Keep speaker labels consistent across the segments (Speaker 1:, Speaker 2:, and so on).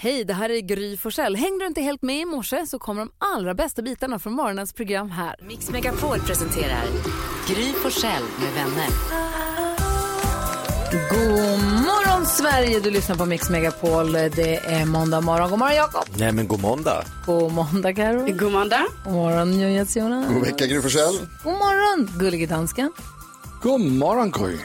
Speaker 1: Hej, det här är Gry Forssell. Hängde du inte helt med i morse så kommer de allra bästa bitarna från morgonens program här.
Speaker 2: Mix Megapol presenterar Gry Forssell med vänner.
Speaker 1: God morgon Sverige, du lyssnar på Mix Megapol. Det är måndag morgon. God morgon Jakob.
Speaker 3: Nej men god måndag.
Speaker 1: God måndag Karo.
Speaker 4: God måndag.
Speaker 1: God morgon Jonas Jonas.
Speaker 5: God vecka Gry Forssell.
Speaker 1: God morgon gullige dansken.
Speaker 5: God morgon Gry.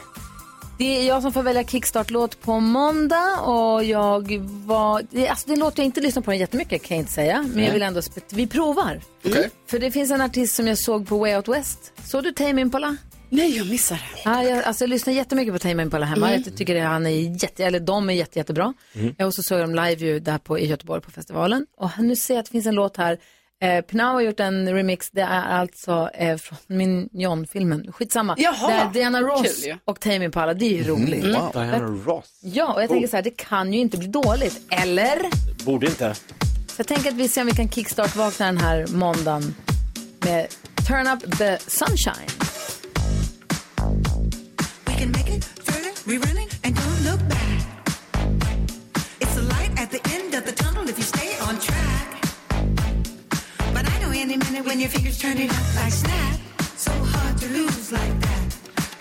Speaker 1: Det är jag som får välja kickstart-låt på måndag och jag var... det- Alltså det låter jag inte lyssna på den jättemycket kan jag inte säga. Men jag vill ändå... spe- Vi provar.
Speaker 5: Okej.
Speaker 1: För det finns en artist som jag såg på Way Out West. Såg du Tame Impala?
Speaker 4: Nej, jag missade.
Speaker 1: Ja, jag, alltså, jag lyssnar jättemycket på Tame Impala hemma.
Speaker 4: Mm.
Speaker 1: Jag tycker att han är jätte, eller de är jätte, jättebra.
Speaker 4: Mm.
Speaker 1: Jag och så såg jag dem live ju där på, i Göteborg på festivalen. Och nu ser jag att det finns en låt här. Eh, Pinau har gjort en remix. Det är alltså eh, från Minion-filmen. Skitsamma.
Speaker 4: Jaha,
Speaker 1: Det är Diana Ross
Speaker 4: kul ju. Mm.
Speaker 1: och Tame Impala. Det är ju roligt.
Speaker 3: Ross.
Speaker 1: Ja,
Speaker 4: Oh.
Speaker 1: och jag tänker så här, det kan ju inte bli dåligt. Eller?
Speaker 3: Borde inte.
Speaker 1: Så jag tänker att vi ser om vi kan kickstart-vakna den här måndagen med Turn Up The Sunshine.
Speaker 6: We can make it further, we're running and don't look back. It's a light at the end of the tunnel if you stay on track. But I know any minute when your fingers turn it up like snap. So hard to lose like that.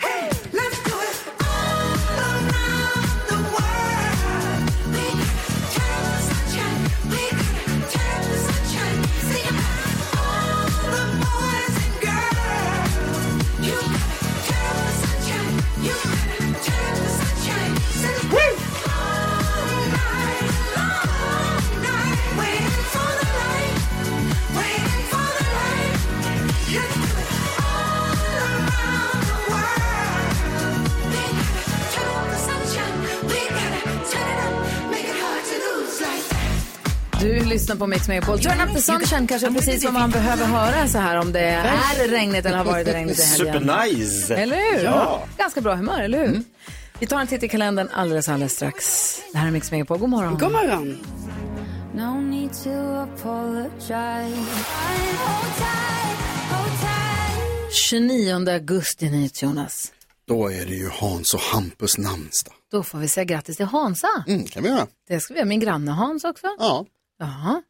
Speaker 6: Hey, let's do it all around the world. We gotta turn up the sunshine. We gotta turn up the sunshine. Sing about all the boys and girls. You gotta turn up the sunshine. You gotta turn up the sunshine. Celebrate all night long. Night waiting for the light. Waiting for the light. Let's do it all around the world. We gotta turn up the sunshine. We gotta turn it up. Make it hard to lose like that.
Speaker 1: Du lyssnar på Mix Megapol. Turn up the sunshine kanske är precis vad man behöver höra så här om det är regnigt eller har varit regnigt i helgen.
Speaker 3: Supernice.
Speaker 1: Eller hur?
Speaker 3: Ja.
Speaker 1: Ganska bra humör, eller hur? Vi tar en titt i kalendern alldeles, alldeles strax. Det här är Mix Megapol. God morgon.
Speaker 4: God morgon.
Speaker 7: No need to apologize.
Speaker 1: 29 augusti, NyhetsJonas.
Speaker 5: Då är det ju Hans och Hampus namnsdag.
Speaker 1: Då får vi säga grattis till Hansa.
Speaker 5: Mm, kan vi göra.
Speaker 1: Det ska vi göra. Min granne Hans också.
Speaker 5: Ja.
Speaker 1: Jaha.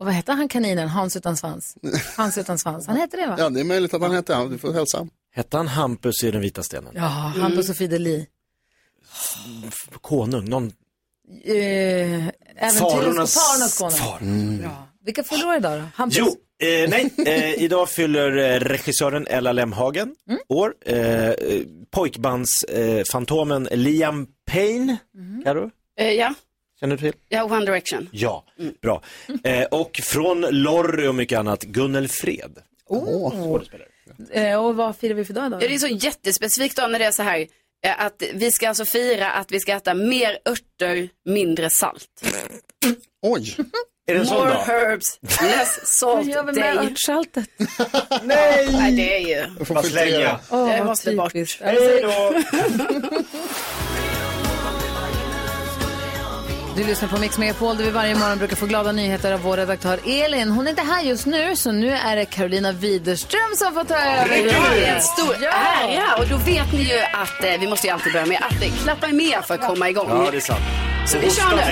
Speaker 1: Och vad heter han kaninen? Hans utan svans? Hans utan svans. Han heter det va?
Speaker 5: ja, det är möjligt att han heter han. Du får hälsa.
Speaker 3: Hette han Hampus i den vita stenen?
Speaker 1: Ja, Hampus och Fideli.
Speaker 3: Konung, någon...
Speaker 1: Eh, äventyrets-
Speaker 3: Farornas-
Speaker 1: Farornas konung. Bra. Mm. Vilka förlorar idag då? Hampus?
Speaker 3: Jo, eh, nej. Eh, idag fyller eh, regissören Ella Lemhagen år. Eh, Eh, pojkbandsfantomen eh, fantomen Liam Payne. Karo,
Speaker 4: Eh, ja.
Speaker 3: känner du till?
Speaker 4: ja, One Direction.
Speaker 3: Ja, bra. Eh, och från Lorry och mycket annat, Gunnel Fred.
Speaker 1: Eh, och vad firar vi för dag idag?
Speaker 4: Ja, det är så jättespecifikt då när det är så här eh, att vi ska alltså fira att vi ska äta mer örter, mindre salt.
Speaker 5: Oj,
Speaker 3: Är det en sån
Speaker 4: More
Speaker 3: dag?
Speaker 4: herbs, less
Speaker 1: Vad gör vi
Speaker 4: salt
Speaker 1: med
Speaker 4: day.
Speaker 1: örtsaltet?
Speaker 4: Nej, det är ju...
Speaker 5: jag får
Speaker 3: Bara
Speaker 5: filtrera.
Speaker 3: slänga.
Speaker 1: Åh,
Speaker 4: Det
Speaker 1: vad
Speaker 4: måste bort.
Speaker 1: typiskt. Alltså,
Speaker 3: Hej då!
Speaker 1: Du lyssnar på Mix Megapol där vi varje morgon brukar få glada nyheter av vår redaktör Elin. Hon är inte här just nu, så nu är det Carolina Widerström som får ta över.
Speaker 4: Det är en stor ära och då vet ni ju att eh, vi måste ju alltid börja med att eh, klappa med för att komma igång.
Speaker 3: Ja, det är sant.
Speaker 4: Så vi kör nu.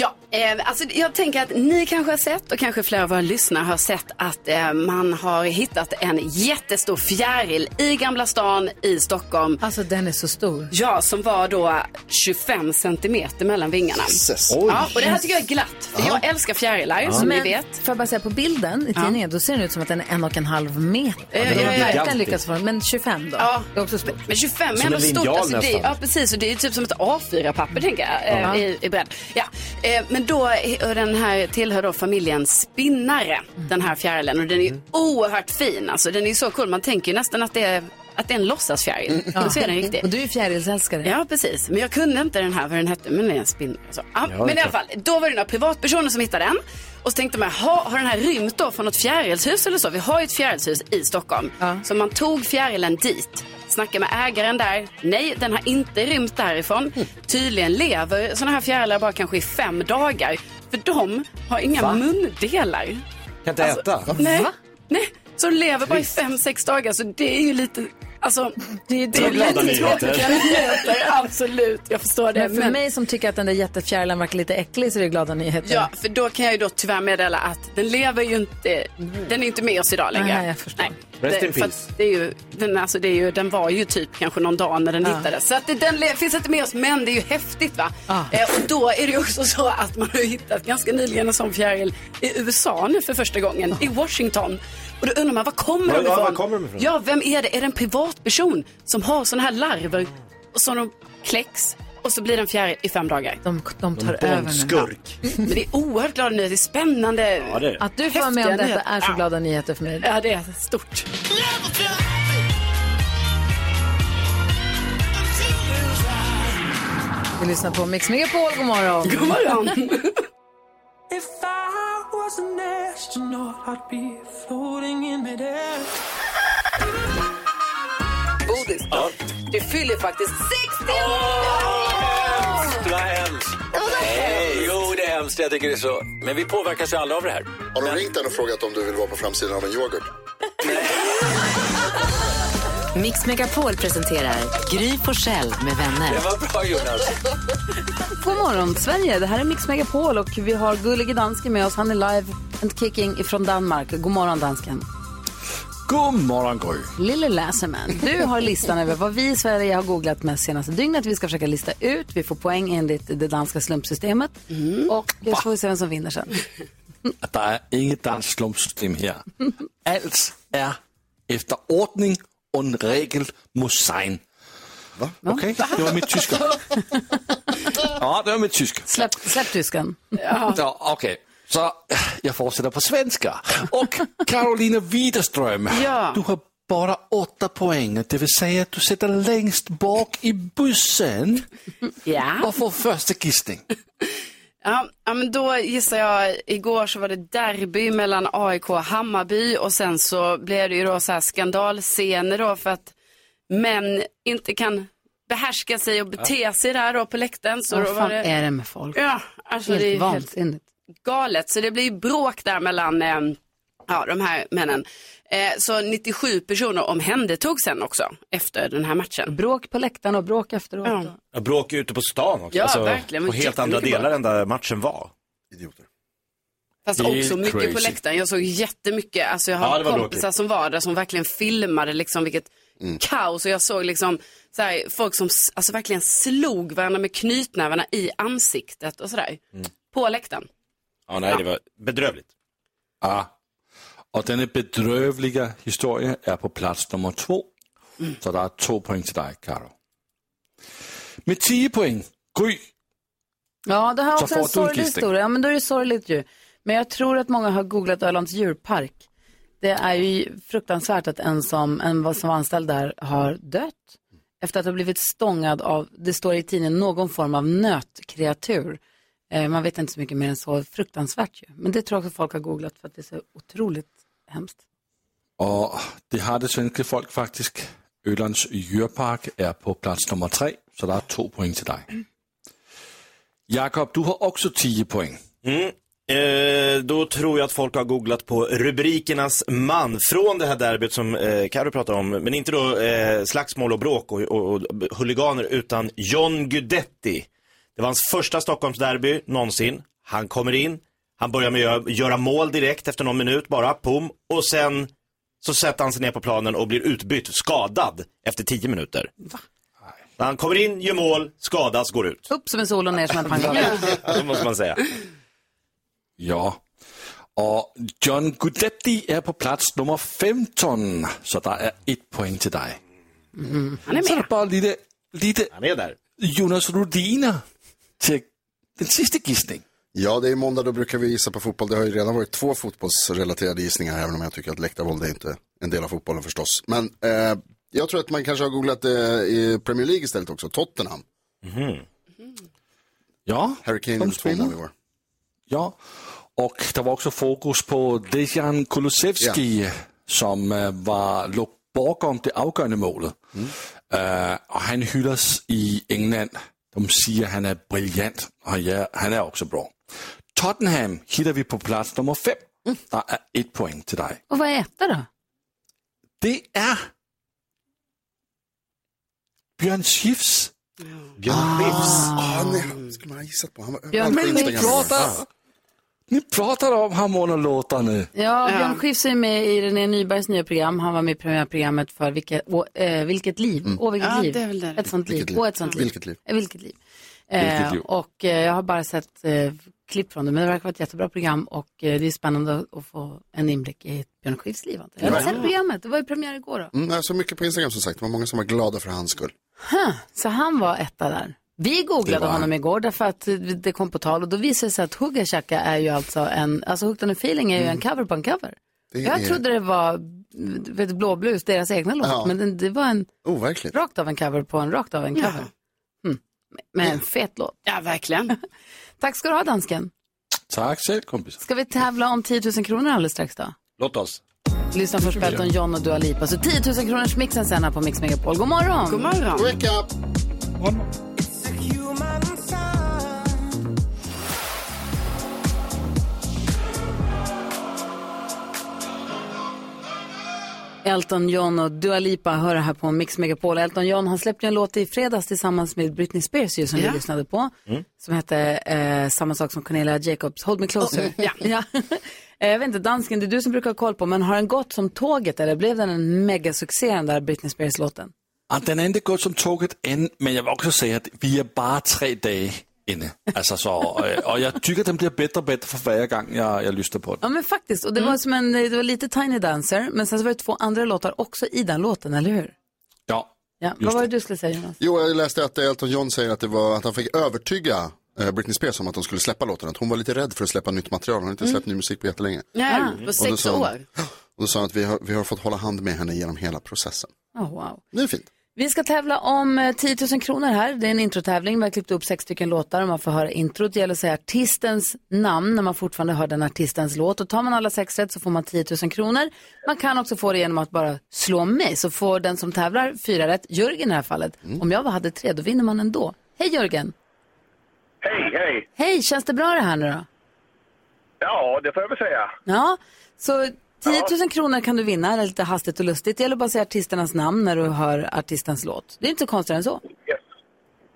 Speaker 4: Ja, eh, alltså jag tänker att ni kanske har sett och kanske flera av våra lyssnare har sett att eh, man har hittat en jättestor fjäril i Gamla stan i Stockholm.
Speaker 1: Alltså den är så stor.
Speaker 4: Ja, som var då 25 centimeter mellan vingarna.
Speaker 5: Jesus.
Speaker 4: Ja, och det här tycker jag är glatt. För jag älskar fjärilar, som ni vet.
Speaker 1: får jag bara säga på bilden i tidningen, då ser den ut som att den är en och en halv meter.
Speaker 4: Ja, ja,
Speaker 1: Den har
Speaker 4: ja, ja.
Speaker 1: verkligen lyckats få den, men 25 då.
Speaker 4: Ja.
Speaker 1: Det är också stort.
Speaker 4: Men 25 är
Speaker 3: Som
Speaker 4: ändå
Speaker 3: en
Speaker 4: stort.
Speaker 3: linjal
Speaker 4: Alltså det,
Speaker 3: nästan.
Speaker 4: ja, precis. Och det är ju typ som ett A4-papper, tänker jag, eh, i, i bredd. Ja. Eh, men då, och den här tillhör då familjen Spinnare, den här fjärilen. Och den är
Speaker 3: Mm.
Speaker 4: ju oerhört fin. Alltså, den är ju så cool. Man tänker ju nästan att det är, att det är en låtsasfjäril.
Speaker 3: Mm.
Speaker 4: Men så är den riktig.
Speaker 1: Och du är ju fjärilsälskare.
Speaker 4: Ja, precis. Men jag kunde inte den här, vad den hette, men det är en spindel. Så. Ja,
Speaker 3: det är
Speaker 4: men i alla fall,
Speaker 3: klart.
Speaker 4: då var det några privatpersoner som hittade den. Och så tänkte man, ha, har den här rymt då från något fjärilshus eller så? Vi har ju ett fjärilshus i Stockholm.
Speaker 1: Ja.
Speaker 4: Så man tog fjärilen dit, snackade med ägaren där. Nej, den har inte rymt därifrån.
Speaker 3: Mm.
Speaker 4: Tydligen lever sådana här fjärilar bara kanske i fem dagar. För de har inga mundelar. Alltså,
Speaker 3: Kan inte äta.
Speaker 4: Nej. Nej, så de lever bara i fem, sex dagar. Så det är ju lite... Alltså,
Speaker 1: Det är ju
Speaker 4: det är
Speaker 1: tråkigt.
Speaker 3: glada nyheter.
Speaker 4: tråkiga nyheter, absolut. Jag förstår det.
Speaker 1: Men för mig som tycker att den där jättefjärilen verkar lite äcklig så är det glada nyheter.
Speaker 4: Ja, för då kan jag ju då tyvärr meddela att den lever ju inte, den är inte med oss idag längre.
Speaker 1: Nej, jag förstår.
Speaker 3: Rest
Speaker 4: det,
Speaker 3: in
Speaker 4: för
Speaker 3: peace.
Speaker 4: att Det är ju, den, alltså det är ju, den var ju typ kanske någon dag när den hittades. Så att det, den le- finns inte med oss, men det är ju häftigt va.
Speaker 1: Ja.
Speaker 4: Eh, och då är det ju också så att man har ju hittat ganska nyligen en sån fjäril i USA nu för första gången, i Washington. Och då undrar man, var kommer
Speaker 3: Ja,
Speaker 4: de
Speaker 3: ja,
Speaker 4: ifrån?
Speaker 3: var kommer de ifrån?
Speaker 4: Ja, vem är det? Är det en privatperson som har såna här larver och som de kläcks och så blir den fjäril i fem dagar?
Speaker 1: De, de tar över nu.
Speaker 3: Bondskurk.
Speaker 4: Men det är oerhört glada nyheter, det är spännande.
Speaker 3: Ja, det är det.
Speaker 1: Att du får vara med om
Speaker 4: Häftiga
Speaker 1: detta är så
Speaker 4: nyheter.
Speaker 1: glada nyheter för mig.
Speaker 4: Ja, det är stort.
Speaker 1: Vi lyssnar på Mix Megapol, god morgon.
Speaker 4: God morgon. Bodis, du fyller faktiskt 60
Speaker 8: Det var hemskt. Nej, jo, det är hemskt. Jag tycker det är så. Men vi påverkas ju alla av det här.
Speaker 5: Har de ringt den och frågat om du vill vara på framsidan av en yoghurt?
Speaker 2: Mix Megapol presenterar Gry Forssell med
Speaker 8: Det
Speaker 2: vänner.
Speaker 8: var bra, Jonas.
Speaker 1: God morgon, Sverige. Det här är Mix Megapol och vi har gullige dansken med oss. Han är live and kicking ifrån Danmark. God morgon, dansken.
Speaker 5: God morgon, Gry.
Speaker 1: Lille Läserman, du har listan över vad vi i Sverige har googlat mest senaste dygnet. Vi ska försöka lista ut. Vi får poäng enligt det danska slumpsystemet.
Speaker 4: Mm.
Speaker 1: Och så får vi se vem som vinner sen.
Speaker 8: Der er ikke dansk slumpsystem her. Alt er efter ordning og en regel må sein. Okay, det var mit tysker. Ja, det var mit tysk.
Speaker 1: Släpp, släpp tysken.
Speaker 8: Så, okay, så jeg fortsætter på svensker. Og Karolina Widerstrøm,
Speaker 4: Ja.
Speaker 8: du har bare 8 point. Det vil sige, at du sætter længst bak i bussen
Speaker 4: Ja.
Speaker 8: og får første gissning.
Speaker 4: ja, ja, men då gissar jag, igår så var det derby mellan AIK och Hammarby och sen så blev det ju då så här skandalscener då för att män inte kan behärska sig och bete sig där då på läktaren. Så då
Speaker 1: Vad
Speaker 4: var
Speaker 1: fan
Speaker 4: det,
Speaker 1: är det med folk?
Speaker 4: ja, alltså det
Speaker 1: Helt
Speaker 4: är helt
Speaker 1: vansinnigt.
Speaker 4: galet. Så det blir bråk där mellan eh, ja, de här männen. Eh, så 97 personer omhändertogs sen också efter den här matchen.
Speaker 1: Bråk på läktaren och bråk efteråt.
Speaker 4: Ja.
Speaker 3: Ja, Bråk ute på stan också. Alltså,
Speaker 4: Ja, verkligen, men
Speaker 3: På helt andra
Speaker 4: jättemycket
Speaker 3: delar än där matchen var.
Speaker 5: Idioter.
Speaker 4: Fast
Speaker 8: Det är
Speaker 4: också mycket på
Speaker 8: crazy.
Speaker 4: läktaren. Jag såg jättemycket. Alltså jag
Speaker 3: Ja,
Speaker 4: har
Speaker 3: det var
Speaker 4: kompisar
Speaker 3: bråkigt.
Speaker 4: som var där som verkligen filmade liksom vilket kaos. Och jag såg liksom så här, folk som s- alltså verkligen slog varandra med knytnävarna i ansiktet och sådär. På läktaren.
Speaker 3: Ja, nej, det var bedrövligt.
Speaker 8: Ja. Og denne bedrøvelige historie er på plads nummer to.
Speaker 3: Mm.
Speaker 8: Så der er to point til dig, Karo. Med 10 point, Gry.
Speaker 1: Ja, det här är
Speaker 8: Så
Speaker 1: också
Speaker 8: får
Speaker 1: en
Speaker 8: du en
Speaker 1: sorglig
Speaker 8: kissning.
Speaker 1: historia. Ja, men då är det sorgligt ju. Men jag tror att många har googlat Ölands djurpark. Det är ju fruktansvärt att en som, en vad som var anställd där har dött. Efter att ha blivit stångad av, det står i tidningen, någon form av nötkreatur. Eh, man vet inte så mycket mer än så. Fruktansvärt ju. Men det tror jag också folk har googlat för att det är så otroligt hemskt.
Speaker 8: Og det har det svenske folk faktisk. Ølands Jørpark er på plads nummer tre, så der er to point til dig. Jakob, du har også 10 point.
Speaker 3: Eh, då tror jag att folk har googlat på rubrikernas man från det här derbyt som eh, Karo pratade om. Men inte då eh, slagsmål och bråk och, och, och huliganer utan John Guidetti. Det var hans första Stockholmsderby någonsin. Han kommer in, han börjar med att gö- göra mål direkt efter någon minut bara, pum. Och sen så sätter han sig ner på planen och blir utbytt, skadad, efter tio minuter. Va? Han kommer in, gör mål, skadas, går ut.
Speaker 1: Upp som en sol och ner som en pannkaka.
Speaker 3: Så måste man säga.
Speaker 8: Ja. Og John Gudetti er på plads nummer 15, så der er et point til dig.
Speaker 4: Han är
Speaker 8: Så er
Speaker 4: med.
Speaker 8: der bare lille, lille
Speaker 3: Han är där.
Speaker 8: Jonas Rudiner till den sista gissning.
Speaker 5: Ja, det är måndag, då brukar vi gissa på fotboll. Det har ju redan varit två fotbollsrelaterade gissningar, även om jag tycker att läktarvåld är inte en del av fotbollen förstås. Men eh, jag tror att man kanske har googlat eh, i Premier League istället också, Tottenham.
Speaker 8: Ja,
Speaker 5: Harry Kane
Speaker 8: Som
Speaker 5: gjorde två mål i
Speaker 8: spelare.
Speaker 5: år.
Speaker 8: ja. Och det var också fokus på Dejan Kulusevski som eh, var låg bakom det avgörande målet. Eh, och han hyllas i England. De säger han är briljant och han är- han är också bra. Tottenham hittar vi på plats nummer fem. Där är ett poäng till dig.
Speaker 1: Och vad är etta då?
Speaker 8: Det är Björn Skifs.
Speaker 3: Björn Skifs.
Speaker 5: Ah, nej, skulle man ha gissat på. Han var
Speaker 1: Björn
Speaker 5: överallt på
Speaker 1: Skifs.
Speaker 5: Instagram. Ah,
Speaker 8: Pratar, ni pratar om honom under låtarna.
Speaker 1: Ja, Björn Skifs är med i René Nybergs nya program. Han var med i premiärprogrammet för vilket, å, eh, vilket liv. Åh, vilket
Speaker 4: Mm. Ja,
Speaker 1: liv.
Speaker 4: det är väl det.
Speaker 1: Ett sånt
Speaker 5: Vilket
Speaker 1: liv.
Speaker 5: liv.
Speaker 1: Åh, ett sånt liv.
Speaker 5: Vilket liv.
Speaker 1: Eh, Vilket liv. Eh,
Speaker 8: Vilket liv.
Speaker 1: Och eh, jag har bara sett eh, klipp från det, men det verkar vara ett jättebra program och eh, det är spännande att- att få en inblick i Björn Skifs liv. antar Jag Jag har inte sett programmet, det var ju premiär igår då.
Speaker 5: Mm, jag såg mycket på Instagram som sagt. Det var många som var glada för hans skull.
Speaker 1: Så han var etta där. Vi googlade honom igår därför att det kom på tal och då visade det sig att Hugga Chaka är ju alltså en, alltså Hooked on a feeling är ju en cover på en cover.
Speaker 5: Det
Speaker 1: Jag
Speaker 5: är
Speaker 1: trodde det var du vet, Blåblus, deras egna låt,
Speaker 5: Ja.
Speaker 1: men den- det var en
Speaker 5: overkligt.
Speaker 1: rakt av en cover på en rakt av en cover. Mm. Men en fet låt.
Speaker 4: Ja, verkligen.
Speaker 1: Tack ska du ha dansken.
Speaker 8: Tack själv kompisar.
Speaker 1: Ska vi tävla om 10 000 kronor alldeles strax då?
Speaker 3: Låt oss.
Speaker 1: Lyssna först på Elton John och Dua Lipa. Så 10 000 kronors mixen sen här på Mix Megapol. God morgon!
Speaker 4: God morgon.
Speaker 5: Wake up!
Speaker 1: Elton John och Dua Lipa hör det här på Mix Megapol. Elton John han släppte ju en låt i fredags tillsammans med Britney Spears ju, som vi
Speaker 4: Ja.
Speaker 1: lyssnade på. Som hette eh, samma sak som Cornelia Jacobs, Hold Me Closer.
Speaker 4: ja.
Speaker 1: Oh, ja. Eh, Jag vet inte, dansken det är du som brukar ha koll på, men har den gått som tåget eller blev den en megasuccé den där Britney Spears-låten?
Speaker 8: Ja, den är inte gått som tåget än, men jag vill också säga att vi är bara tre dagar inne. Alltså så, eh, och jag tycker den blir bättre och bättre för varje gång jag, jag lyssnar på den.
Speaker 1: Ja men faktiskt, och det var som en, det var lite Tiny Dancer, men sen så var det två andra låtar också i den låten, eller hur?
Speaker 8: Ja,
Speaker 1: Ja. Vad var det du skulle säga Jonas?
Speaker 5: Jo, jag läste att Elton John säger att, det var, att han fick övertyga eh, Britney Spears om att de skulle släppa låten. Att hon var lite rädd för att släppa nytt material. Hon har inte släppt ny musik på jättelänge.
Speaker 4: Ja, på
Speaker 5: Och då
Speaker 4: sex
Speaker 5: sa han-
Speaker 4: år.
Speaker 5: Och då sa han att vi har, vi har fått hålla hand med henne genom hela processen.
Speaker 1: Oh, wow.
Speaker 5: Det är fint.
Speaker 1: Vi ska tävla om eh, 10 000 kronor här. Det är en introtävling. Vi har klippt upp sex stycken låtar och man får höra introt. Det gäller att säga artistens namn när man fortfarande hör den artistens låt. Och tar man alla sex rätt så får man 10 000 kronor. Man kan också få det genom att bara slå mig. Så får den som tävlar fyra rätt, Jörgen i det här fallet. Om jag bara hade tre, då vinner man ändå. Hej Jörgen!
Speaker 9: Hej, hej!
Speaker 1: Hej, känns det bra det här nu då?
Speaker 9: Ja, det får jag väl säga.
Speaker 1: Ja, så 10 000 kronor kan du vinna, det är lite hastigt och lustigt. Det gäller bara att säga artisternas namn när du hör artistens låt. Det är inte så konstigt än så.
Speaker 9: Yes.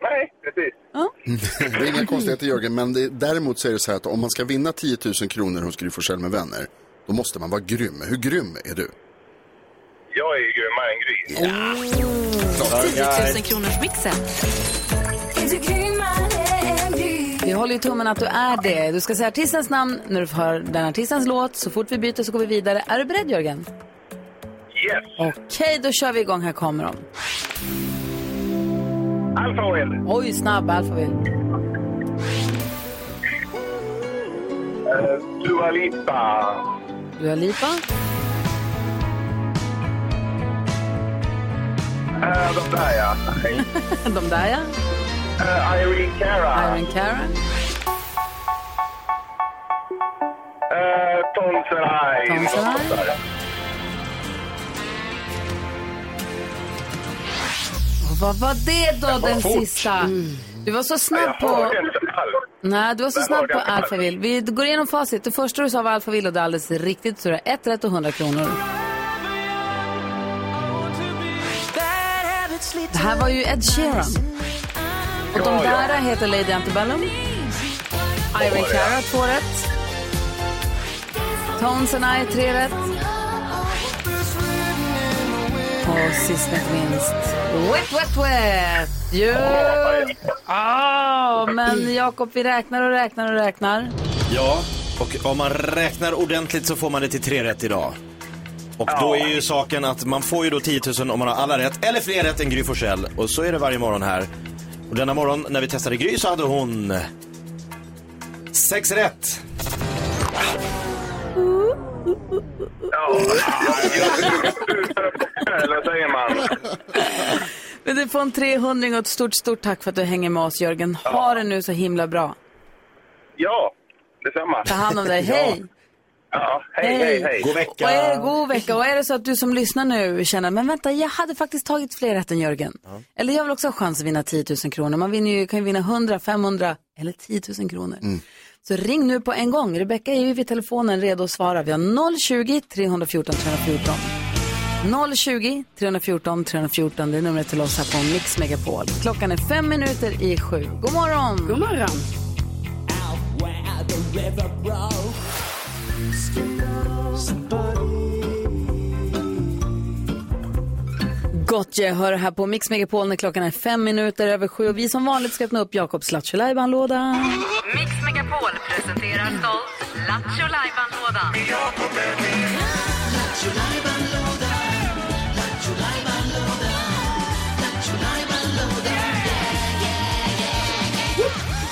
Speaker 9: Nej, precis.
Speaker 5: Det är inga konstigheter Jörgen, men det, däremot så är det så här att om man ska vinna 10 000 kronor hos Gry Forssell med vänner, då måste man vara grym. Hur grym är du?
Speaker 9: Jag är ju grymmare än Gry.
Speaker 2: 10 000 kronors mixen.
Speaker 1: Vi håller ju tummen att du är det. Du ska säga artistens namn när du hör den artistens låt. Så fort vi byter så går vi vidare. Är du beredd Jörgen?
Speaker 9: Yes!
Speaker 1: Okej, då kör vi igång. Här kommer de.
Speaker 9: Alfa och L.
Speaker 1: Oj, snabb Alphaville.
Speaker 9: Eh, Dua Lipa.
Speaker 1: Dua Lipa.
Speaker 9: Eh, de där ja.
Speaker 1: De där ja.
Speaker 9: Eh, Irene Cara.
Speaker 1: Irene Cara.
Speaker 9: Eh, Tom Sarai.
Speaker 1: Tom Sarai. Och vad var det då, den sista? Du var så snabb
Speaker 9: Jag
Speaker 1: på...
Speaker 9: hörde inte alls.
Speaker 1: Nej, du var så
Speaker 9: Jag
Speaker 1: snabb
Speaker 9: hörde
Speaker 1: på
Speaker 9: inte alls.
Speaker 1: Alphaville. Vi går igenom facit. Det första du sa var Alphaville och det är alldeles riktigt. Så du har ett rätt och 100 kronor. Det här var ju Ed Sheeran. Och de
Speaker 9: Ja, ja.
Speaker 1: där heter Lady Antebellum. Irene Cara, två rätt. Tones and I, tre rätt. Och sist men inte minst, Wet Wet Wet! Jo! Ah, men Jakob, vi räknar och räknar och räknar.
Speaker 3: Ja, och om man räknar ordentligt så får man det till tre rätt idag. Och då är ju saken att man får ju då 10 000 om man har alla rätt, eller fler rätt än Gry Forssell. Och så är det varje morgon här. Och denna morgon när vi testade Gry så hade hon sex rätt.
Speaker 9: Ja, eller vad säger man?
Speaker 1: Men du får en 300 och ett stort, stort tack för att du hänger med oss, Jörgen. Ha det nu så himla bra.
Speaker 9: Ja, detsamma.
Speaker 1: Ta hand om dig. Hej!
Speaker 9: Ja, hej, hej, hej.
Speaker 3: God
Speaker 1: Och är
Speaker 3: vecka.
Speaker 1: det eh, god vecka. Och är det så att du som lyssnar nu känner, men vänta, jag hade faktiskt tagit fler rätt än Jörgen. Eller jag vill också ha chans att vinna 10 000 kronor. Man vinner ju, kan ju vinna 100, 500 eller 10 000 kronor. Så ring nu på en gång. Rebecka är ju vid telefonen redo att svara. Vi har 020 314 314. 020 314 314, det är numret till oss här på Mix Megapol. Klockan är fem minuter i sju. God morgon!
Speaker 4: God morgon.
Speaker 1: Gott jag hör här på Mix Megapol när klockan är fem minuter över sju och vi som vanligt ska öppna upp Jakobs Lattjo-lajban-låda.
Speaker 2: Mix Megapol presenterar stolt Lattjo Lajban-lådan.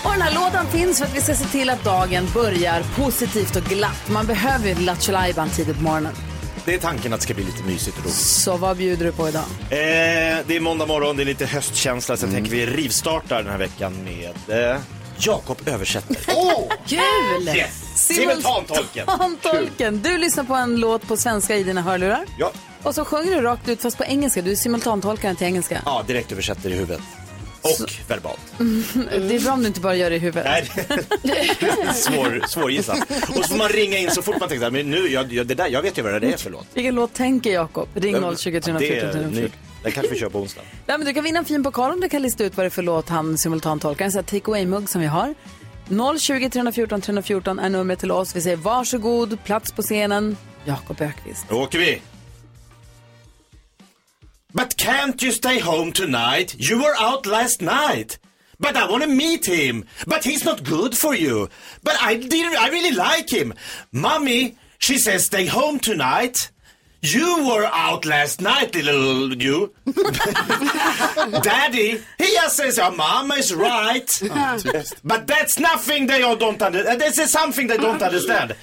Speaker 1: Och den här lådan finns för att vi ska se till att dagen börjar positivt och glatt. Man behöver ju Lattjo-lajban tidigt på morgonen.
Speaker 3: Det är tanken att det ska bli lite mysigt och roligt.
Speaker 1: Så vad bjuder du på idag?
Speaker 3: Eh, det är måndag morgon, det är lite höstkänsla, så jag tänker vi rivstartar den här veckan med eh, Jakob översätter.
Speaker 1: Kul!
Speaker 3: Simultantolken!
Speaker 1: Simultantolken! Du lyssnar på en låt på svenska i dina hörlurar.
Speaker 3: Ja.
Speaker 1: Och så sjunger du rakt ut fast på engelska. Du är simultantolkaren till engelska.
Speaker 3: ja, direkt översätter i huvudet. Och verbalt.
Speaker 1: Det är bra om du inte bara gör det i huvudet.
Speaker 3: Nej, svår, svårgissat. Och så får man ringa in så fort man tänker så här, men nu, jag, jag, det där, jag vet ju vad det är för låt.
Speaker 1: Vilken låt tänker Jakob? Ring 020
Speaker 3: Det är
Speaker 1: 314
Speaker 3: ny.
Speaker 1: 314.
Speaker 3: Den kanske vi kör på onsdag.
Speaker 1: Nej, men du kan vinna en fin pokal om du kan lista ut vad det är för låt han simultantolkar. En sån här take away-mugg som vi har. 020 314 314 är numret till oss. Vi säger varsågod, plats på scenen. Jakob Ökvist.
Speaker 3: Då åker vi. But can't you stay home tonight? You were out last night. But I wanna meet him. But he's not good for you. But I didn't, I really like him. Mommy, she says stay home tonight. You were out last night, little you. Daddy, he just says your mama is right. But that's nothing they all don't understand. This is something they don't understand.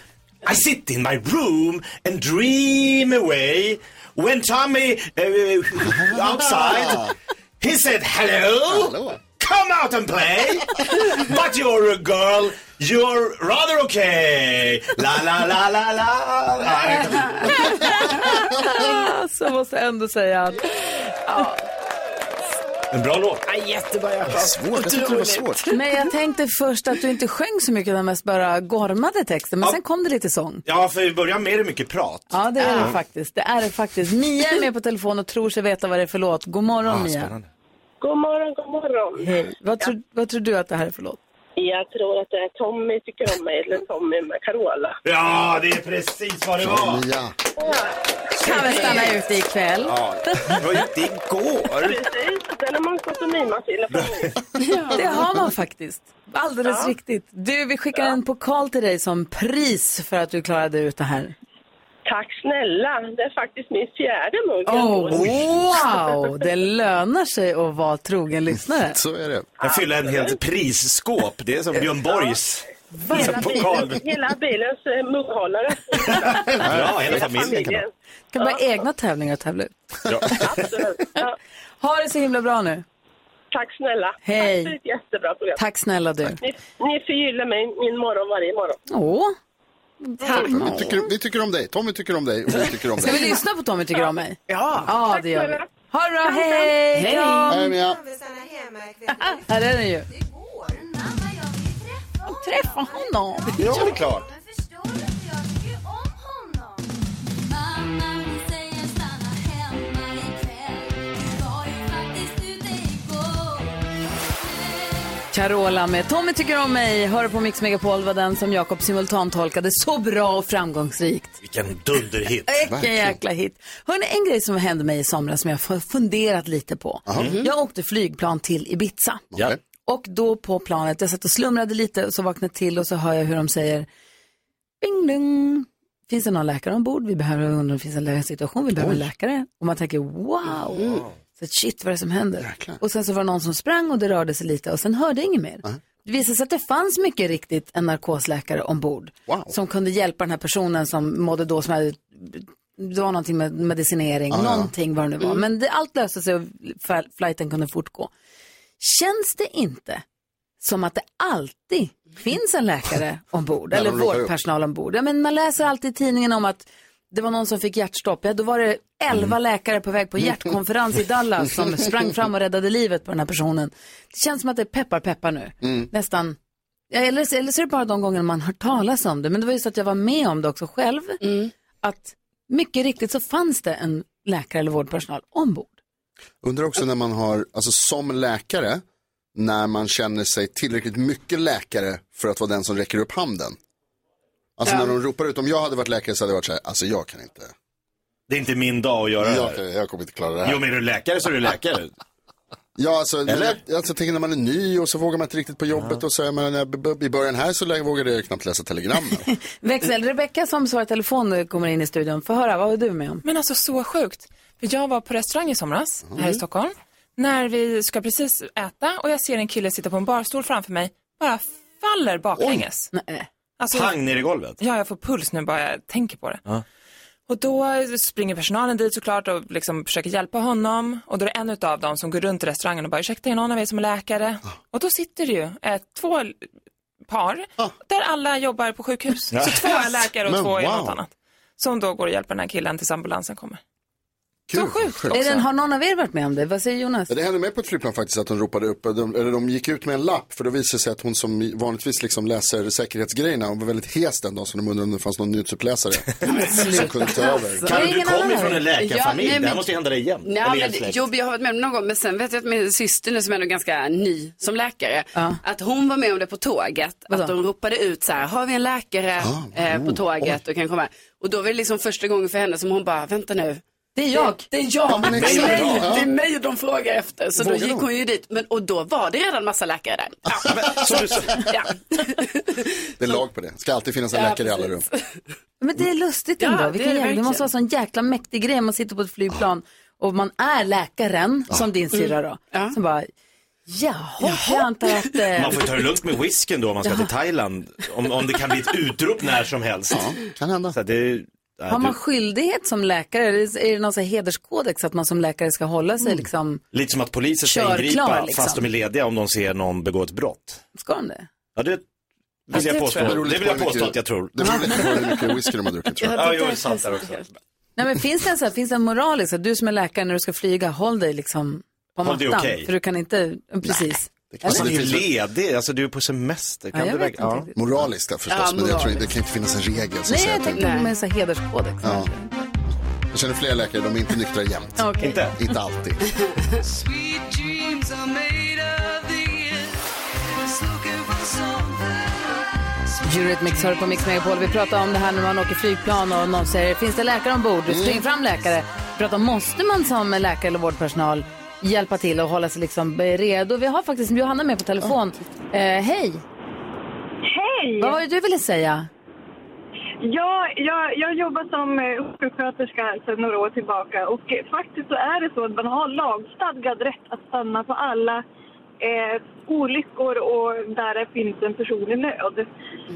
Speaker 3: I sit in my room and dream away. When Tommy uh, outside, he said, hello,
Speaker 5: Hello.
Speaker 3: come out and play. but you're a girl, you're rather okay. La, la, la, la, la.
Speaker 1: Ah, Så måste jag ändå säga att
Speaker 3: En bra låt.
Speaker 5: Svårt, jag tyckte det var svårt.
Speaker 1: Men jag tänkte först att du inte sjöng så mycket utan mest bara gormade texten. Men
Speaker 3: Ja.
Speaker 1: sen kom det lite sång.
Speaker 3: Ja, för i början med det mycket prat.
Speaker 1: Ja, det är det faktiskt. Det är det faktiskt. Mia är med på telefon och tror sig veta vad det är för låt. God morgon Mia.
Speaker 3: spännande.
Speaker 10: God morgon, god morgon.
Speaker 1: Hej. Vad, tror, vad tror du att det här är för låt?
Speaker 10: Jag tror att det är Tommy tycker om mig, eller Tommy med Carola.
Speaker 3: Ja, det är precis vad det var.
Speaker 5: Mia.
Speaker 1: Kan vi stanna ute ikväll?
Speaker 3: Ja, det var ju inte igår.
Speaker 10: Precis, den har man stått och mimat till.
Speaker 1: Det har man faktiskt. Alldeles riktigt. Du, vi skickar en pokal till dig som pris för att du klarade ut det här.
Speaker 10: Tack snälla, det är faktiskt min fjärde mugg. jag
Speaker 1: Oh,
Speaker 10: får.
Speaker 1: wow! Det lönar sig att vara trogen lyssnare.
Speaker 5: Så är det.
Speaker 3: Jag fyller en helt prisskåp. Det är som Björn Borgs liksom,
Speaker 10: Hela,
Speaker 3: pokal.
Speaker 10: bilen, hela bilens eh, mugghållare.
Speaker 3: Ja, hela familjen kan
Speaker 10: Familjen.
Speaker 1: Det kan vara egna tävlingar att tävla ut.
Speaker 3: ja.
Speaker 10: Absolut. Ja,
Speaker 1: Ha det så himla bra nu.
Speaker 10: tack snälla.
Speaker 1: Hej.
Speaker 10: Tack för ett jättebra program.
Speaker 1: Tack snälla du.
Speaker 10: Ni, ni förgyller mig min morgon varje morgon.
Speaker 1: Åh.
Speaker 5: Vi tycker, vi tycker om dig. Tommy tycker om dig och vi tycker om
Speaker 1: Ska vi
Speaker 5: dig.
Speaker 1: lyssna på Tommy tycker om mig? Ja. Ja, det gör vi. Ha det bra, hej! Hej!
Speaker 5: Hej Mia.
Speaker 1: Här är den ju. Träffa honom.
Speaker 5: Ja, det är klart.
Speaker 1: Carola med Tommy tycker om mig. Hör på Mix Megapol var den som Jakob simultantolkade så bra och framgångsrikt.
Speaker 3: Vilken dunderhit.
Speaker 1: Vilken
Speaker 5: Verkligen.
Speaker 1: jäkla hit. Hörrni, en grej som hände mig i somras som jag har funderat lite på. Mm. Jag åkte flygplan till Ibiza.
Speaker 3: Ja.
Speaker 1: Och då på planet, jag satt och slumrade lite och så vaknade jag till och så hör jag hur de säger Bing ding. Finns det någon läkare ombord? Vi behöver undra om det finns en läkarsituation. Vi behöver en läkare. Och man tänker wow. Så att, shit vad är det som händer? Och sen så var det någon som sprang och det rörde sig lite och sen hörde jag inget mer. Det visade sig att det fanns mycket riktigt en narkosläkare ombord.
Speaker 5: Wow.
Speaker 1: Som kunde hjälpa den här personen som mådde då, som hade, det var någonting med medicinering, någonting vad det nu var. Men det, allt löste sig och fl- flighten kunde fortgå. Känns det inte som att det alltid finns en läkare ombord eller
Speaker 5: de ropar upp.
Speaker 1: vårdpersonal ombord. Ja, men man läser alltid i tidningen om att det var någon som fick hjärtstopp. Ja, då var det elva
Speaker 5: Mm.
Speaker 1: läkare på väg på hjärtkonferens i Dallas som sprang fram och räddade livet på den här personen. Det känns som att det är peppar peppar nu.
Speaker 5: Mm.
Speaker 1: Nästan. Ja, eller, eller så är det bara de gånger man har talas
Speaker 5: Mm.
Speaker 1: om det. Men det var ju så att jag var med om det också själv. Att mycket riktigt så fanns det en läkare eller vårdpersonal ombord.
Speaker 5: Undrar också när man har, alltså som läkare, när man känner sig tillräckligt mycket läkare för att vara den som räcker upp handen. Alltså
Speaker 1: Ja.
Speaker 5: när de ropar ut, om jag hade varit läkare så hade jag varit så här, alltså jag kan inte.
Speaker 3: Det är inte min dag att göra
Speaker 5: Jag,
Speaker 3: det
Speaker 5: kan,
Speaker 3: här.
Speaker 5: jag kommer inte klara det här.
Speaker 3: Jo, men är du läkare så är du läkare.
Speaker 5: Ja, alltså,
Speaker 3: Eller?
Speaker 5: Eller? Jag, alltså jag tänker när man är ny och så vågar man inte riktigt på jobbet och så är man, när jag, b- b- i början här så lä- vågade jag knappt läsa telegram.
Speaker 1: Växel, Rebecka som svarar i telefon eh, kommer in i studion. Få höra, vad var du med om?
Speaker 11: Men alltså så sjukt. För jag var på restaurang i somras här i Stockholm. När vi ska precis äta och jag ser en kille sitta på en barstol framför mig. Bara faller baklänges. Alltså,
Speaker 3: Pang ner i golvet.
Speaker 11: Ja, jag får puls nu bara jag tänker på det. Och då springer personalen dit såklart och liksom försöker hjälpa honom. Och då är det en utav dem som går runt i restaurangen och bara ursäkta, är någon av er som är läkare? Och då sitter det ju eh, två l- par där alla jobbar på sjukhus.
Speaker 12: Ja.
Speaker 11: Så två är läkare och
Speaker 12: Men
Speaker 11: två är
Speaker 12: wow.
Speaker 11: något annat. Som då går och hjälper den här killen tills ambulansen kommer.
Speaker 5: Så sjukt
Speaker 1: Är den, har någon av er varit med om det? Vad säger Jonas?
Speaker 5: Ja, det hände mig på ett flygplan faktiskt att de ropade upp, de, eller de gick ut med en lapp för då visade det sig att hon som vanligtvis liksom läser säkerhetsgrejerna, hon var väldigt hes den dagen så de undrade om det fanns någon nyhetsuppläsare som kunde ta över.
Speaker 3: Kan du komma ifrån en
Speaker 4: Ja,
Speaker 3: läkarfamilj?
Speaker 4: nej,
Speaker 3: Det
Speaker 4: men-
Speaker 3: här måste ju hända dig jämt. Eller
Speaker 4: Nej,
Speaker 3: er
Speaker 4: men,
Speaker 3: släkt.
Speaker 4: jo, jag har varit med om det någon gång, men sen vet jag att min syster nu som är nog ganska ny som läkare, att hon var med om det på tåget. Att de ropade ut så här, har vi en läkare eh, på
Speaker 1: oh,
Speaker 4: tåget och kan komma? Och då var det liksom första gången för henne som hon bara, vänta nu.
Speaker 1: Det är jag.
Speaker 4: Det, är
Speaker 1: Ja,
Speaker 4: jag.
Speaker 1: men
Speaker 4: det,
Speaker 1: exakt.
Speaker 4: är mig.
Speaker 1: Ja.
Speaker 4: det är mig de frågar efter. Så
Speaker 1: Vågar
Speaker 4: då gick
Speaker 1: de?
Speaker 4: hon ju dit. Men, och då var det redan massa läkare där. Ja. ja.
Speaker 5: Det är lag på det, ska alltid finnas en
Speaker 4: Ja,
Speaker 5: läkare i alla rum.
Speaker 1: Men det är lustigt ändå.
Speaker 4: Ja, det är
Speaker 1: Vilken
Speaker 4: det
Speaker 1: jävla, det
Speaker 4: verkligen.
Speaker 1: måste vara en sån jäkla mäktig grej. Man sitter på ett flygplan och man är läkaren, som din syrra då. Som bara, jaha, jag antar att... eh,
Speaker 3: Man får ju ta det lugnt med whiskyn då om man ska till Thailand. Om, om det kan bli ett utrop när som helst.
Speaker 5: kan hända.
Speaker 3: Så att det, nej,
Speaker 1: Har man
Speaker 3: du,
Speaker 1: skyldighet som läkare? Eller Är det någon sån här hederskodex att man som läkare ska hålla
Speaker 4: Mm.
Speaker 1: sig liksom?
Speaker 3: lite som att poliser ska
Speaker 1: Kör
Speaker 3: ingripa
Speaker 1: klar, liksom.
Speaker 3: fast de är lediga om de ser någon begå ett brott.
Speaker 1: Ska de det?
Speaker 3: Ja, det
Speaker 1: Ja,
Speaker 3: vill
Speaker 1: det
Speaker 3: jag
Speaker 1: tror
Speaker 3: påstå.
Speaker 1: Alltså, jag.
Speaker 3: Det
Speaker 1: Det beror lite
Speaker 3: vill jag
Speaker 1: på hur
Speaker 3: påstå
Speaker 1: mycket-
Speaker 3: att jag tror.
Speaker 5: Det beror lite på hur mycket whisky de har druckit tror jag.
Speaker 3: Ja, jo, det är sant där också.
Speaker 1: Nej, men finns det en, så här, finns det en moralisk, att du som är läkare när du ska flyga, håll dig liksom på
Speaker 3: Håll dig
Speaker 1: mattan.
Speaker 3: okej.
Speaker 1: För du kan inte, precis.
Speaker 3: Alltså,
Speaker 1: Eller?
Speaker 3: du är ledig, alltså du är på semester. Kan
Speaker 1: Ja, jag
Speaker 3: du
Speaker 1: vet
Speaker 3: väga- ja.
Speaker 5: Moraliskt ja, förstås,
Speaker 1: Ja,
Speaker 5: men jag tror inte,
Speaker 1: moraliskt.
Speaker 5: det kan inte finnas en regel som
Speaker 1: Nej,
Speaker 5: säger
Speaker 1: jag
Speaker 5: att det-
Speaker 1: tänkte med en sån här hederskodex.
Speaker 5: ja. Jag känner flera läkare, de är inte nyktra jämt.
Speaker 1: Okej. Inte?
Speaker 5: Inte alltid.
Speaker 6: Sweet dreams are made of these. Looking for something.
Speaker 1: Eurythmics hör på Mix Megapol. Vi pratar om det här när man åker flygplan och någon säger finns det läkare ombord? Mm. Spring fram läkare. Vi pratar om måste man som läkare eller vårdpersonal hjälpa till och hålla sig liksom redo? Vi har faktiskt Johanna med på telefon. Eh, hej!
Speaker 13: Hej!
Speaker 1: Vad var det du ville säga?
Speaker 13: Ja, jag, jag jobbar som eh, sjuksköterska sedan några år tillbaka och eh, faktiskt så är det så att man har lagstadgad rätt att stanna på alla eh, olyckor och där det finns en person i nöd.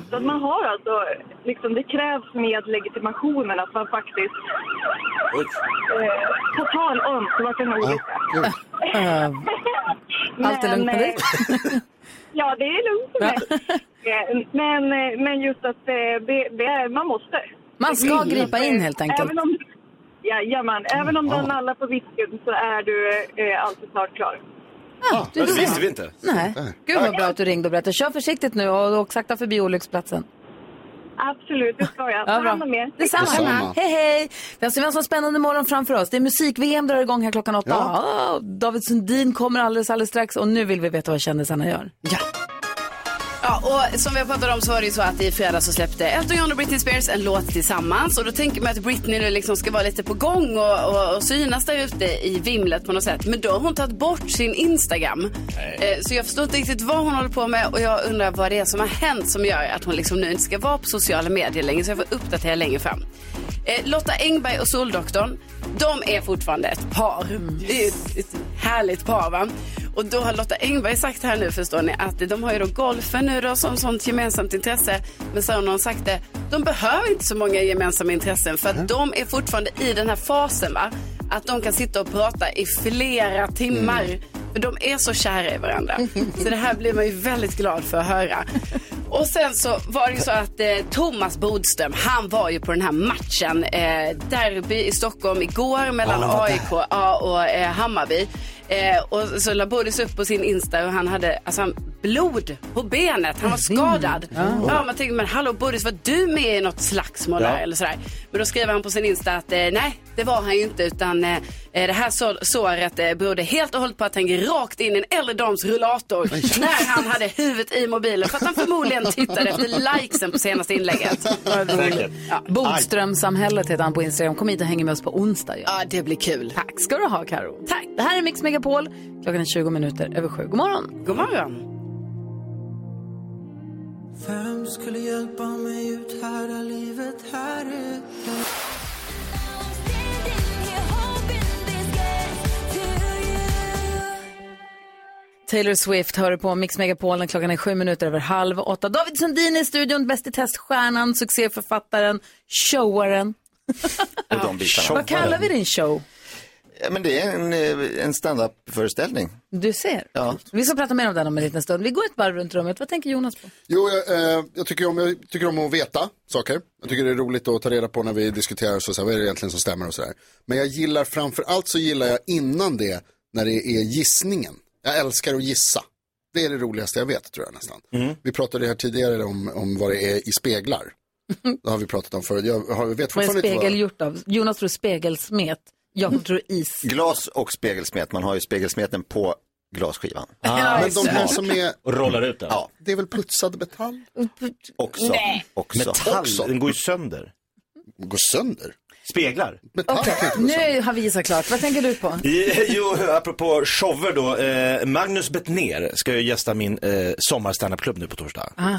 Speaker 13: Så att man har alltså, liksom, det krävs med legitimationen att man faktiskt eh, tar tal om så man kan olycka.
Speaker 1: Eh, Allt är lugnt med dig?
Speaker 13: eh, ja, det är lugnt med mig. Eh, Men, eh, men just att eh, det, det är, man måste.
Speaker 1: Man ska
Speaker 13: Mm.
Speaker 1: gripa in helt enkelt.
Speaker 13: Även om, jajamän, även om den alla på visken så är du eh, alltid snart klar.
Speaker 1: Ja,
Speaker 3: Men Det visste vi inte.
Speaker 1: Nej. Gud vad bra att du ringde och berättade. Kör försiktigt nu och åk sakta förbi olycksplatsen.
Speaker 13: Absolut, det ska jag. Ta
Speaker 1: bra.
Speaker 13: hand om er.
Speaker 1: Detsamma.
Speaker 13: Detsamma.
Speaker 1: Hej, hej. Vi har så vi har en sån spännande morgon framför oss. Det är musik-VM drar igång här klockan åtta. Ah, David Sundin kommer alldeles, alldeles strax och nu vill vi veta vad kändisarna gör. Ja.
Speaker 4: Ja, och som vi har pratat om så var det ju så att i fredags så släppte Elton John och Britney Spears en låt tillsammans. Och då tänker man att Britney nu liksom ska vara lite på gång och, och, och synas där ute i vimlet på något sätt. Men då har hon tagit bort sin Instagram. Eh, så jag förstår inte riktigt vad hon håller på med och jag undrar vad det är som har hänt som gör att hon liksom nu inte ska vara på sociala medier längre. Så jag får uppdatera längre fram. Eh, Lotta Engberg och Soldoktorn, de är fortfarande ett par. Det är ett, ett härligt par va? Och då har Lotta Engberg sagt här nu förstår ni att de har ju då golfen nu då som sånt gemensamt intresse. Men så har någon sagt det, de behöver inte så många gemensamma intressen för att de är fortfarande i den här fasen va? Att de kan sitta och prata i flera timmar. För de är så kära i varandra. Så det här blir man ju väldigt glad för att höra. Och sen så var det ju så att eh, Thomas Bodström, han var ju på den här matchen, eh, derby i Stockholm igår mellan
Speaker 14: Ja, han var där.
Speaker 4: AIK ja, och eh, Hammarby. Eh, och så la Bodis upp på sin Insta och han hade, alltså han blod på benet. Han var skadad. Ja, man tänker, men hallå Boris, var du med i något slagsmål
Speaker 12: Ja.
Speaker 4: där? Eller sådär. Men då skrev han på sin Insta att eh, nej, det var han ju inte. Utan eh, det här så- såret eh, berodde helt och hållet på att han gick rakt in i en äldre dams rullator när han hade huvudet i mobilen. För att han förmodligen tittade efter likesen på senaste inlägget.
Speaker 1: Säkert. Bodströmsamhället heter han på Instagram. Kom hit och häng med oss på onsdag. Ja,
Speaker 4: det blir kul.
Speaker 1: Tack ska du ha, Karo. Tack. Det här är Mix Megapol. Klockan är 20 minuter över sju. God morgon.
Speaker 4: God morgon.
Speaker 6: Vem skulle hjälpa mig ut här i livet här ute?
Speaker 1: Taylor Swift hör på Mix Megapol när klockan är sju minuter över halv åtta. David Sundin i studion, bäst i teststjärnan, succéförfattaren, showaren.
Speaker 14: Och de bitarna.
Speaker 1: Vad kallar vi din show?
Speaker 14: Ja, Men det är en, eh, en standup-föreställning.
Speaker 1: Du ser.
Speaker 14: Ja.
Speaker 1: Vi ska prata mer om den om en liten stund. Vi går ett varv runt rummet. Vad tänker Jonas på?
Speaker 5: Jo, jag, eh, jag, tycker om, jag tycker om att veta saker. Jag tycker det är roligt att ta reda på när vi diskuterar så, så här, vad är det egentligen som stämmer och sådär. Men jag gillar framför allt så gillar jag innan det när det är gissningen. Jag älskar att gissa. Det är det roligaste jag vet tror jag nästan.
Speaker 14: Mm.
Speaker 5: Vi pratade här tidigare om, om vad det är i speglar. Det har vi pratat om förut. Jag, har, jag vet
Speaker 1: Vad är en
Speaker 5: fortfarande inte
Speaker 1: spegel
Speaker 5: vad...
Speaker 1: gjort av? Jonas tror spegelsmet. Jag tror is.
Speaker 14: Glas och spegelsmet, man har ju spegelsmeten på glasskivan.
Speaker 5: Ah, Men de här som är...
Speaker 14: Och rollar ut den? Ja,
Speaker 5: Det är väl putsad metall?
Speaker 14: också.
Speaker 5: Nej.
Speaker 14: också.
Speaker 5: Metall, den
Speaker 14: går ju sönder.
Speaker 5: Går sönder?
Speaker 3: Speglar.
Speaker 1: Nu har vi gissat klart. Vad tänker du på?
Speaker 3: jo, apropå shower då. Eh, Magnus Bettner ska ju gästa min eh, sommarstanupklubb nu på torsdag.
Speaker 1: Ah.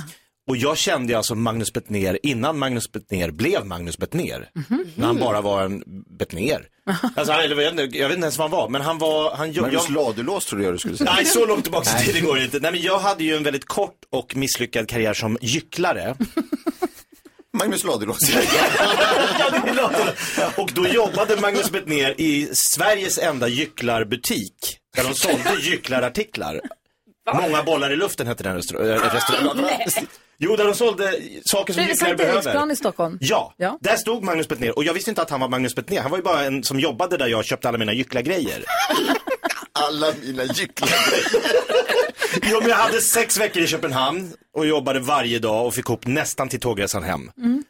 Speaker 3: Och jag kände ju alltså Magnus Bettner innan Magnus Bettner blev Magnus Bettner. När han bara var en Bettner. Alltså, han- eller jag, vet inte- jag vet inte ens vad han var, men han var... Han, jag,
Speaker 14: Magnus
Speaker 3: jag,
Speaker 14: Ladulås trodde jag du skulle säga.
Speaker 3: Nej, så långt tillbaka i tiden går det inte. Nej, men jag hade ju en väldigt kort och misslyckad karriär som gycklare.
Speaker 14: Magnus Ladulås.
Speaker 3: och då jobbade Magnus Bettner i Sveriges enda gycklarbutik. Där de sålde gycklarartiklar. Många bollar i luften hette den restaur- äh, restaurangen.
Speaker 1: Nej.
Speaker 3: Jo, där de sålde saker som
Speaker 1: Bredvid
Speaker 3: gycklare
Speaker 1: Sankt
Speaker 3: behöver.
Speaker 1: Eriksplan i Stockholm.
Speaker 3: Ja, där stod Magnus Bettner och jag visste inte att han var Magnus Bettner. Han var ju bara en som jobbade där jag köpte alla mina gycklargrejer.
Speaker 14: Alla mina gycklargrejer.
Speaker 3: jo, men jag hade sex veckor i Köpenhamn och jobbade varje dag och fick ihop nästan till tågresan hem. Mm.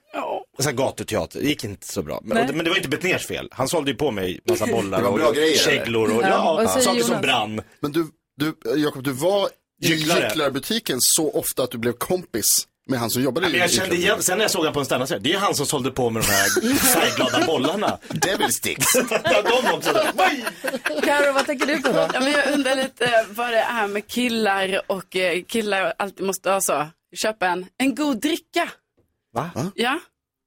Speaker 3: Så här gatuteater, det gick inte så bra. Men,
Speaker 1: Nej.
Speaker 3: och det- men det var inte Betnérs fel. Han sålde ju på mig massa
Speaker 5: Det
Speaker 3: bollar
Speaker 5: var bra
Speaker 3: och
Speaker 5: grejer, eller?
Speaker 3: käglor och
Speaker 5: Ja,
Speaker 3: ja,
Speaker 5: vad säger
Speaker 3: saker som
Speaker 5: Jonas?
Speaker 3: brann.
Speaker 5: Men du, du Jakob, du var i
Speaker 3: Gycklare.
Speaker 5: gycklarbutiken så ofta att du blev kompis med han som jobbade
Speaker 3: Ja, men jag kände
Speaker 5: gycklarbutiken.
Speaker 3: igen, sen när jag såg honom på en standup, så här, det är han som sålde på med de här färgglada bollarna.
Speaker 14: Devil sticks.
Speaker 3: ja, de också. Där.
Speaker 1: Karo, vad tänker du på då?
Speaker 4: Ja, men jag undrar lite eh, vad det är med killar och eh, killar alltid måste ha så. Köpa en, en god dricka.
Speaker 3: Va?
Speaker 4: Ja,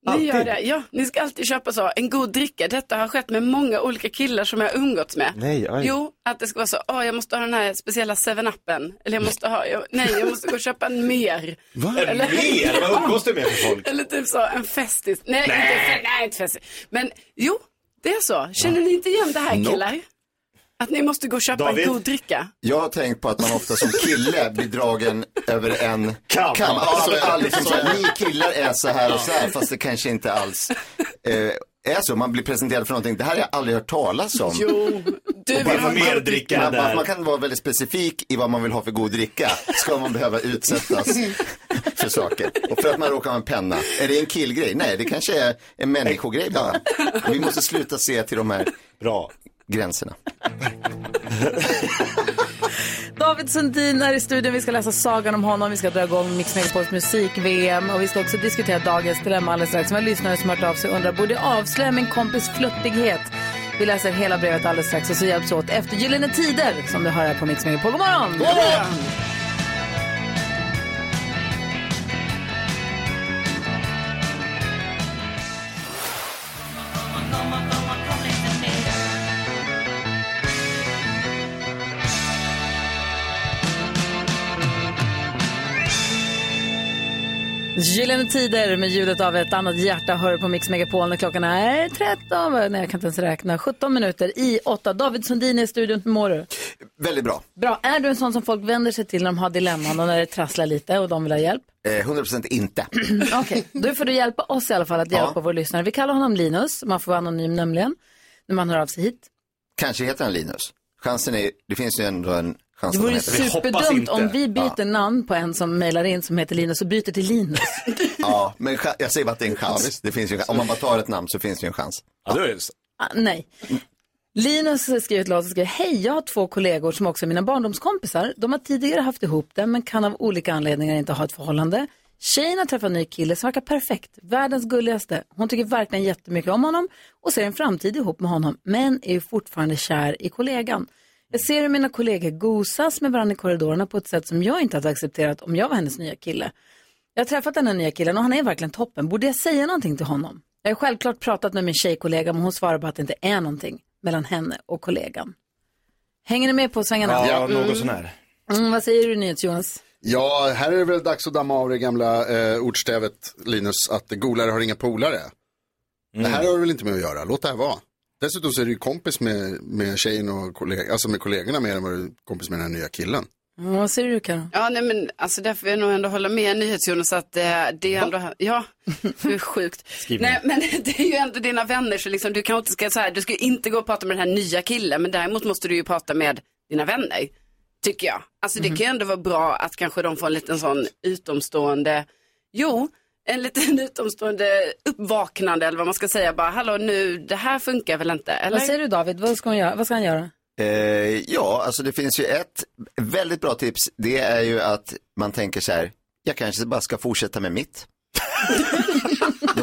Speaker 4: ni
Speaker 3: Alltid?
Speaker 4: gör det. Ja, ni ska alltid köpa så. En god dricka. Detta har skett med många olika killar som jag har umgåtts med.
Speaker 3: Nej, oj.
Speaker 4: Jo, att det ska vara så. Åh, jag måste ha den här speciella 7-Upen. Eller jag måste ha, jag, nej, jag måste gå och köpa en mer.
Speaker 3: Va?
Speaker 4: Eller-
Speaker 3: Mer? Vad umgås du med för folk?
Speaker 4: Eller typ så, en festis. Nej, nej. inte fe- nej, inte festis. Men jo, det är så. Känner ni inte igen det här
Speaker 14: Nope.
Speaker 4: killar? Att ni måste gå och köpa
Speaker 14: David?
Speaker 4: en god dricka?
Speaker 14: Jag har tänkt på att man ofta som kille blir dragen över en
Speaker 3: kam.
Speaker 14: Ja,
Speaker 5: Så är det.
Speaker 14: ja, liksom,
Speaker 5: Så
Speaker 14: så
Speaker 5: är det.
Speaker 14: här, ni killar är så här och så här,
Speaker 5: Ja.
Speaker 14: fast det kanske inte alls eh, är så. Man blir presenterad för någonting, det här har jag aldrig hört talas om.
Speaker 4: Jo, du
Speaker 14: Och
Speaker 4: vill ha
Speaker 14: man-
Speaker 4: mer
Speaker 14: man,
Speaker 4: dricka
Speaker 14: man,
Speaker 15: eh,
Speaker 4: där.
Speaker 14: man kan vara väldigt specifik i vad man vill ha för god dricka. Ska man behöva utsättas för saker. Och för att man råkar ha en penna. Är det en killgrej? Nej, det kanske är en människogrej bara. Vi måste sluta se till de här
Speaker 3: Bra.
Speaker 14: gränserna.
Speaker 1: David Sundin är i studion. Vi ska läsa sagan om honom. Vi ska dra igång Mix Megapols musik-VM. Och vi ska också diskutera dagens dilemma alldeles strax. Vi har lyssnare som har hört av sig och undrar, borde jag avslöja min kompis flörtighet? Vi läser hela brevet alldeles strax och så hjälps vi åt efter Gyllene Tider som du hör här på Mix Megapol. God morgon! God
Speaker 5: morgon!
Speaker 1: Gyllene Tider med ljudet av ett annat hjärta hör på Mix Megapol när klockan är 13, nej jag kan inte ens räkna, 17 minuter i 8. David Sundin är i studion, hur mår du?
Speaker 14: Väldigt bra.
Speaker 1: Bra, är du en sån som folk vänder sig till när de har dilemman och när det trasslar lite och de vill ha hjälp?
Speaker 14: Eh, 100% inte.
Speaker 1: Okej, då får du hjälpa oss i alla fall att hjälpa vår lyssnare. Vi kallar honom Linus, man får vara anonym nämligen, när man hör av sig hit.
Speaker 14: Kanske heter han Linus. Chansen är, det finns ju ändå en
Speaker 1: Det
Speaker 14: chansen.
Speaker 1: vore
Speaker 14: de
Speaker 1: ju
Speaker 14: heter.
Speaker 1: superdumt om vi byter
Speaker 14: Ja.
Speaker 1: namn på en som mejlar in som heter Linus och byter till Linus.
Speaker 14: Ja, men cha- jag säger bara att det är en
Speaker 1: Ja,
Speaker 14: chans.
Speaker 1: visst.
Speaker 14: Det finns ju en chans. Om man bara tar ett namn så finns det ju en chans.
Speaker 3: Ja, det är
Speaker 1: Ah, nej. Linus skriver ett låt och skriver, hej, jag har två kollegor som också är mina barndomskompisar. De har tidigare haft ihop det, men kan av olika anledningar inte ha ett förhållande. Tjejen har träffat en ny kille som verkar perfekt, världens gulligaste. Hon tycker verkligen jättemycket om honom och ser en framtid ihop med honom, men är ju fortfarande kär i kollegan. Jag ser hur mina kollegor gosas med varandra i korridorerna på ett sätt som jag inte hade accepterat om jag var hennes nya kille. Jag har träffat den här nya killen och han är verkligen toppen. Borde jag säga någonting till honom? Jag har självklart pratat med min tjejkollega men hon svarar bara att det inte är någonting mellan henne och kollegan. Hänger ni med på svängarna?
Speaker 3: Ja,
Speaker 1: Mm.
Speaker 3: något sån här.
Speaker 1: Mm, vad säger du NyhetsJonas?
Speaker 5: Ja, här är det väl dags att damma av det gamla eh, ordstävet, Linus, att golare har inga polare.
Speaker 3: Mm.
Speaker 5: Det här har du väl inte med att göra, låt det här vara. Dessutom så är du ju kompis med, med tjejen och kolleg- alltså med kollegorna mer än vad du är kompis med den här nya killen.
Speaker 1: Mm, vad säger du Karin?
Speaker 4: Ja, nej, men alltså där får jag nog ändå hålla med NyhetsJonas att eh, det är ändå, ja, hur sjukt.
Speaker 1: Skriv
Speaker 4: nej, men det är ju ändå dina vänner så liksom, du kan inte, ska, så här, du ska ju inte gå och prata med den här nya killen, men däremot måste du ju prata med dina vänner, tycker jag. Alltså
Speaker 14: Mhm.
Speaker 4: det kan ju ändå vara bra att kanske de får en liten sån utomstående, jo, en liten utomstående uppvaknande eller vad man ska säga, bara hallå nu, det här funkar väl inte, eller?
Speaker 1: Vad säger du David? Vad ska, hon göra? vad ska han göra?
Speaker 14: Eh, ja, alltså det finns ju ett väldigt bra tips. Det är ju att man tänker så här, jag kanske bara ska fortsätta med mitt.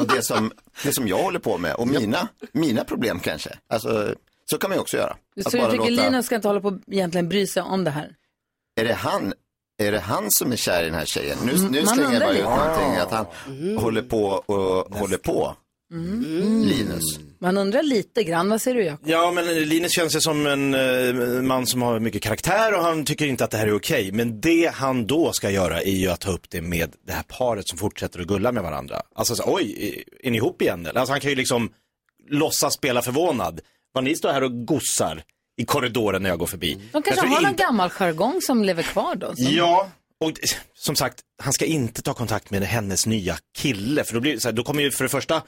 Speaker 14: och det som, det som jag håller på med och mina, mina problem kanske. Alltså, så kan man ju också göra.
Speaker 1: Du,
Speaker 14: Att
Speaker 1: så du
Speaker 14: bara
Speaker 1: tycker
Speaker 14: låta-
Speaker 1: Linus ska inte hålla på och egentligen bry sig om det här?
Speaker 14: Är det han? Är det han som är kär i den här tjejen? Nu,
Speaker 1: Mm,
Speaker 14: nu
Speaker 1: man
Speaker 14: slänger jag
Speaker 1: undrar
Speaker 14: bara ut
Speaker 1: lite.
Speaker 14: någonting att han håller på och håller på.
Speaker 1: Mm.
Speaker 14: Linus.
Speaker 1: Man undrar lite grann, vad säger du Jakob?
Speaker 3: Ja, men Linus känns ju som en eh, man som har mycket karaktär och han tycker inte att det här är okej. Men det han då ska göra är ju att ta upp det med det här paret som fortsätter att gulla med varandra. Alltså, så, oj, är ni ihop igen eller? Alltså han kan ju liksom låtsas spela förvånad. Vad ni står här och gossar i korridoren när jag går förbi.
Speaker 1: De
Speaker 3: Jag
Speaker 1: kanske
Speaker 3: tror
Speaker 1: har någon
Speaker 3: inte-
Speaker 1: gammal jargong som lever kvar då?
Speaker 14: Mm.
Speaker 1: Som...
Speaker 3: Ja, och d- som sagt, han ska inte ta kontakt med hennes nya kille. För då, blir, det så här, då kommer ju för det första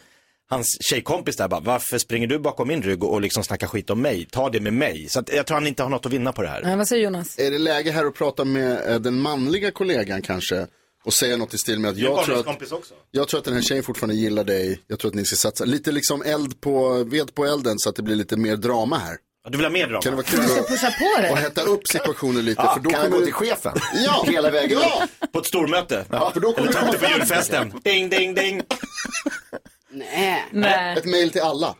Speaker 3: hans tjejkompis där bara, varför springer du bakom min rygg och liksom snackar skit om mig? Ta det med mig. Så att, jag tror han inte har något att vinna på det här.
Speaker 1: Nej, vad säger Jonas?
Speaker 5: Är det läge här att prata med eh, den manliga kollegan kanske? Och säga något i stil med att jag tror att,
Speaker 3: också.
Speaker 5: jag tror att den här tjejen fortfarande gillar dig. Jag tror att ni ska satsa lite liksom eld på, ved på elden så att det blir lite mer drama här.
Speaker 3: Du vill ha mer drama?
Speaker 5: Kan det vara kul att,
Speaker 1: Pusha på
Speaker 5: och
Speaker 1: det.
Speaker 5: hetta upp situationen lite?
Speaker 14: Ja,
Speaker 5: för då
Speaker 14: kan jag
Speaker 5: kommer
Speaker 14: gå
Speaker 5: det-
Speaker 14: till chefen?
Speaker 5: Ja,
Speaker 14: Hela vägen upp.
Speaker 5: Ja,
Speaker 3: På ett stormöte.
Speaker 14: Ja,
Speaker 5: för då kommer
Speaker 3: Eller ta upp det
Speaker 5: komma
Speaker 3: på
Speaker 5: fram-
Speaker 3: julfesten. Ding, ding, ding.
Speaker 4: Nej.
Speaker 1: Nej.
Speaker 5: Ett mejl till alla.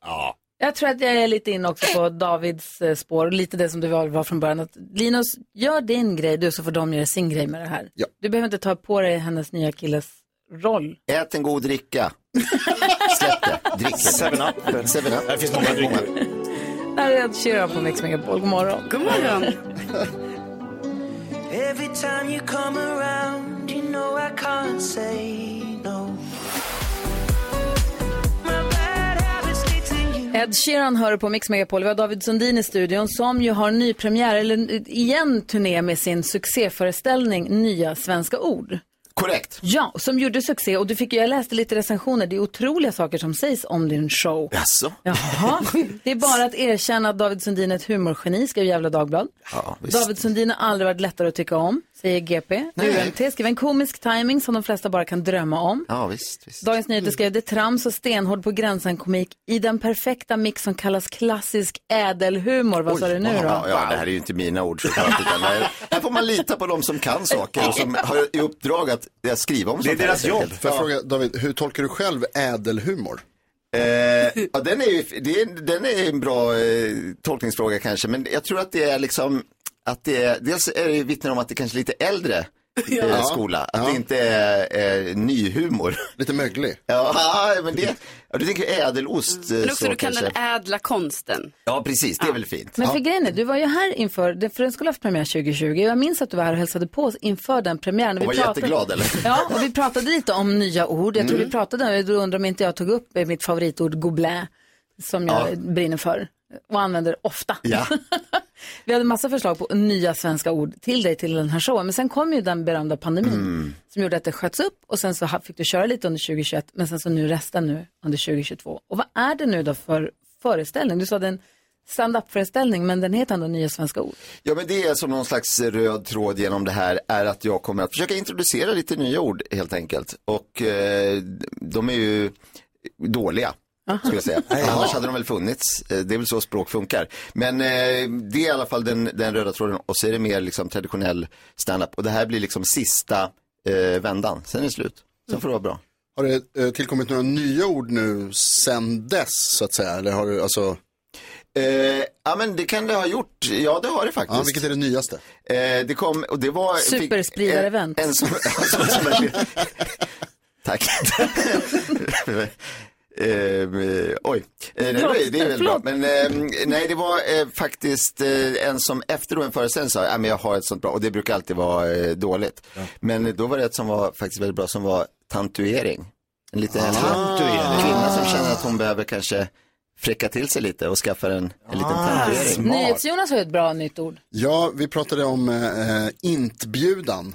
Speaker 3: Ja.
Speaker 1: Jag tror att jag är lite inne också på Davids eh, spår, och lite det som du var var från början. Att Linus, gör din grej du så får de göra sin grej med det här.
Speaker 5: Ja.
Speaker 1: Du behöver inte ta på dig hennes nya killes roll.
Speaker 14: Ät en god dricka. Släpp det. Drick det.
Speaker 3: Seven up.
Speaker 14: Seven up.
Speaker 3: Det finns många drycker.
Speaker 1: Där är Ed Sheeran på Mix Megapol. God morgon.
Speaker 4: God morgon.
Speaker 6: Every time you come around, you know I can't say no. My bad habits lead to you.
Speaker 1: Ed Sheeran hör på Mix Megapol. Vi har David Sundin i studion som ju har nypremiär, eller eh, igen turné med sin succéföreställning Nya svenska ord.
Speaker 14: Korrekt.
Speaker 1: Ja, som gjorde succé och du fick ju, jag läste lite recensioner, det är otroliga saker som sägs om din show.
Speaker 14: Jaså?
Speaker 1: Jaha, det är bara att erkänna att David Sundin är ett humorgeni, skrev Jävla Dagblad.
Speaker 14: Ja, visst.
Speaker 1: David Sundin har aldrig varit lättare att tycka om, säger GP. UMT skrev en komisk timing som de flesta bara kan drömma om.
Speaker 14: Ja, visst. visst.
Speaker 1: Dagens Nyheter skrev det är trams och stenhård på gränsen-komik i den perfekta mix som kallas klassisk ädelhumor. Vad sa du nu
Speaker 14: Ja,
Speaker 1: då?
Speaker 14: ja, det här är ju inte mina ord såklart. Utan här, här får man lita på de som kan saker och som har i uppdrag att att skriva om
Speaker 3: Det är
Speaker 14: sånt här,
Speaker 3: deras
Speaker 14: helt
Speaker 3: jobb.
Speaker 14: enkelt.
Speaker 5: Får jag fråga David, hur tolkar du själv ädelhumor?
Speaker 14: Eh, ja, den, är ju, det är, den är en bra eh, tolkningsfråga kanske, men jag tror att det är liksom att det är, dels är det ju vittnar om att det kanske är lite äldre eh,
Speaker 5: Ja.
Speaker 14: skola, att
Speaker 5: Ja.
Speaker 14: det inte är eh, nyhumor.
Speaker 5: Lite möglig.
Speaker 14: Ja, men det, ja, du tänker ädelost eh,
Speaker 4: Mm. Men
Speaker 14: så
Speaker 4: också du kan
Speaker 14: kanske.
Speaker 4: den ädla konsten.
Speaker 14: Ja, precis, det är väl fint.
Speaker 1: Men
Speaker 14: Ja.
Speaker 1: för grejen är, du var ju här inför, det- för den skulle ha haft premiär 2020. Jag minns att du var här och hälsade på oss inför den premiären.
Speaker 14: Och var jätteglad eller?
Speaker 1: Ja, och vi pratade lite om nya ord. Jag tror
Speaker 14: Mm.
Speaker 1: vi pratade, du undrar om inte jag tog upp eh, mitt favoritord goblin, som jag
Speaker 14: Ja.
Speaker 1: brinner för och använder ofta.
Speaker 14: Ja.
Speaker 1: Vi hade massa förslag på nya svenska ord till dig till den här showen. Men sen kom ju den berömda pandemin
Speaker 14: Mm.
Speaker 1: som gjorde att det sköts upp och sen så ha- fick du köra lite under 2021 men sen så nu resten nu under 2022. Och vad är det nu då för föreställning? Du sa den stand-up-föreställning, men den heter ändå Nya Svenska Ord.
Speaker 14: Ja, men det är som någon slags röd tråd genom det här är att jag kommer att försöka introducera lite nya ord helt enkelt. Och eh, de är ju dåliga. Skulle jag säga. Annars hade de väl funnits. Eh, Det är väl så språk funkar. Men eh, det är i alla fall den, den röda tråden och så är det mer liksom traditionell standup. Och det här blir liksom sista eh, vändan. Sen är det slut. Sen får det vara bra.
Speaker 5: Har det eh, tillkommit några nya ord nu sen dess så att säga? Eller har du, alltså...
Speaker 14: Eh, ja men det kan det ha gjort. Ja det har det faktiskt.
Speaker 5: Ja, vilket är det nyaste?
Speaker 14: Eh, det kom och det var... fick- eh,
Speaker 1: Superspridarevent.
Speaker 14: En, en som, som, som en, tack. Ehm, oj, Eh, nej, det var- det är väldigt bra.
Speaker 12: Förlåt.
Speaker 14: Men ehm, nej, det var eh, faktiskt eh, en som efter då en föreställning sa, "Ja, men jag har ett sånt bra, och det brukar alltid vara eh, dåligt. Men då var det ett som var faktiskt väldigt bra som var tatuering. En lite äldre kvinna som känner att hon behöver kanske fräcka till sig lite och skaffa en, en liten tatuering.
Speaker 1: NyhetsJonas har ju ett bra nytt ord.
Speaker 5: Ja, vi pratade om eh, eh, intbjudan.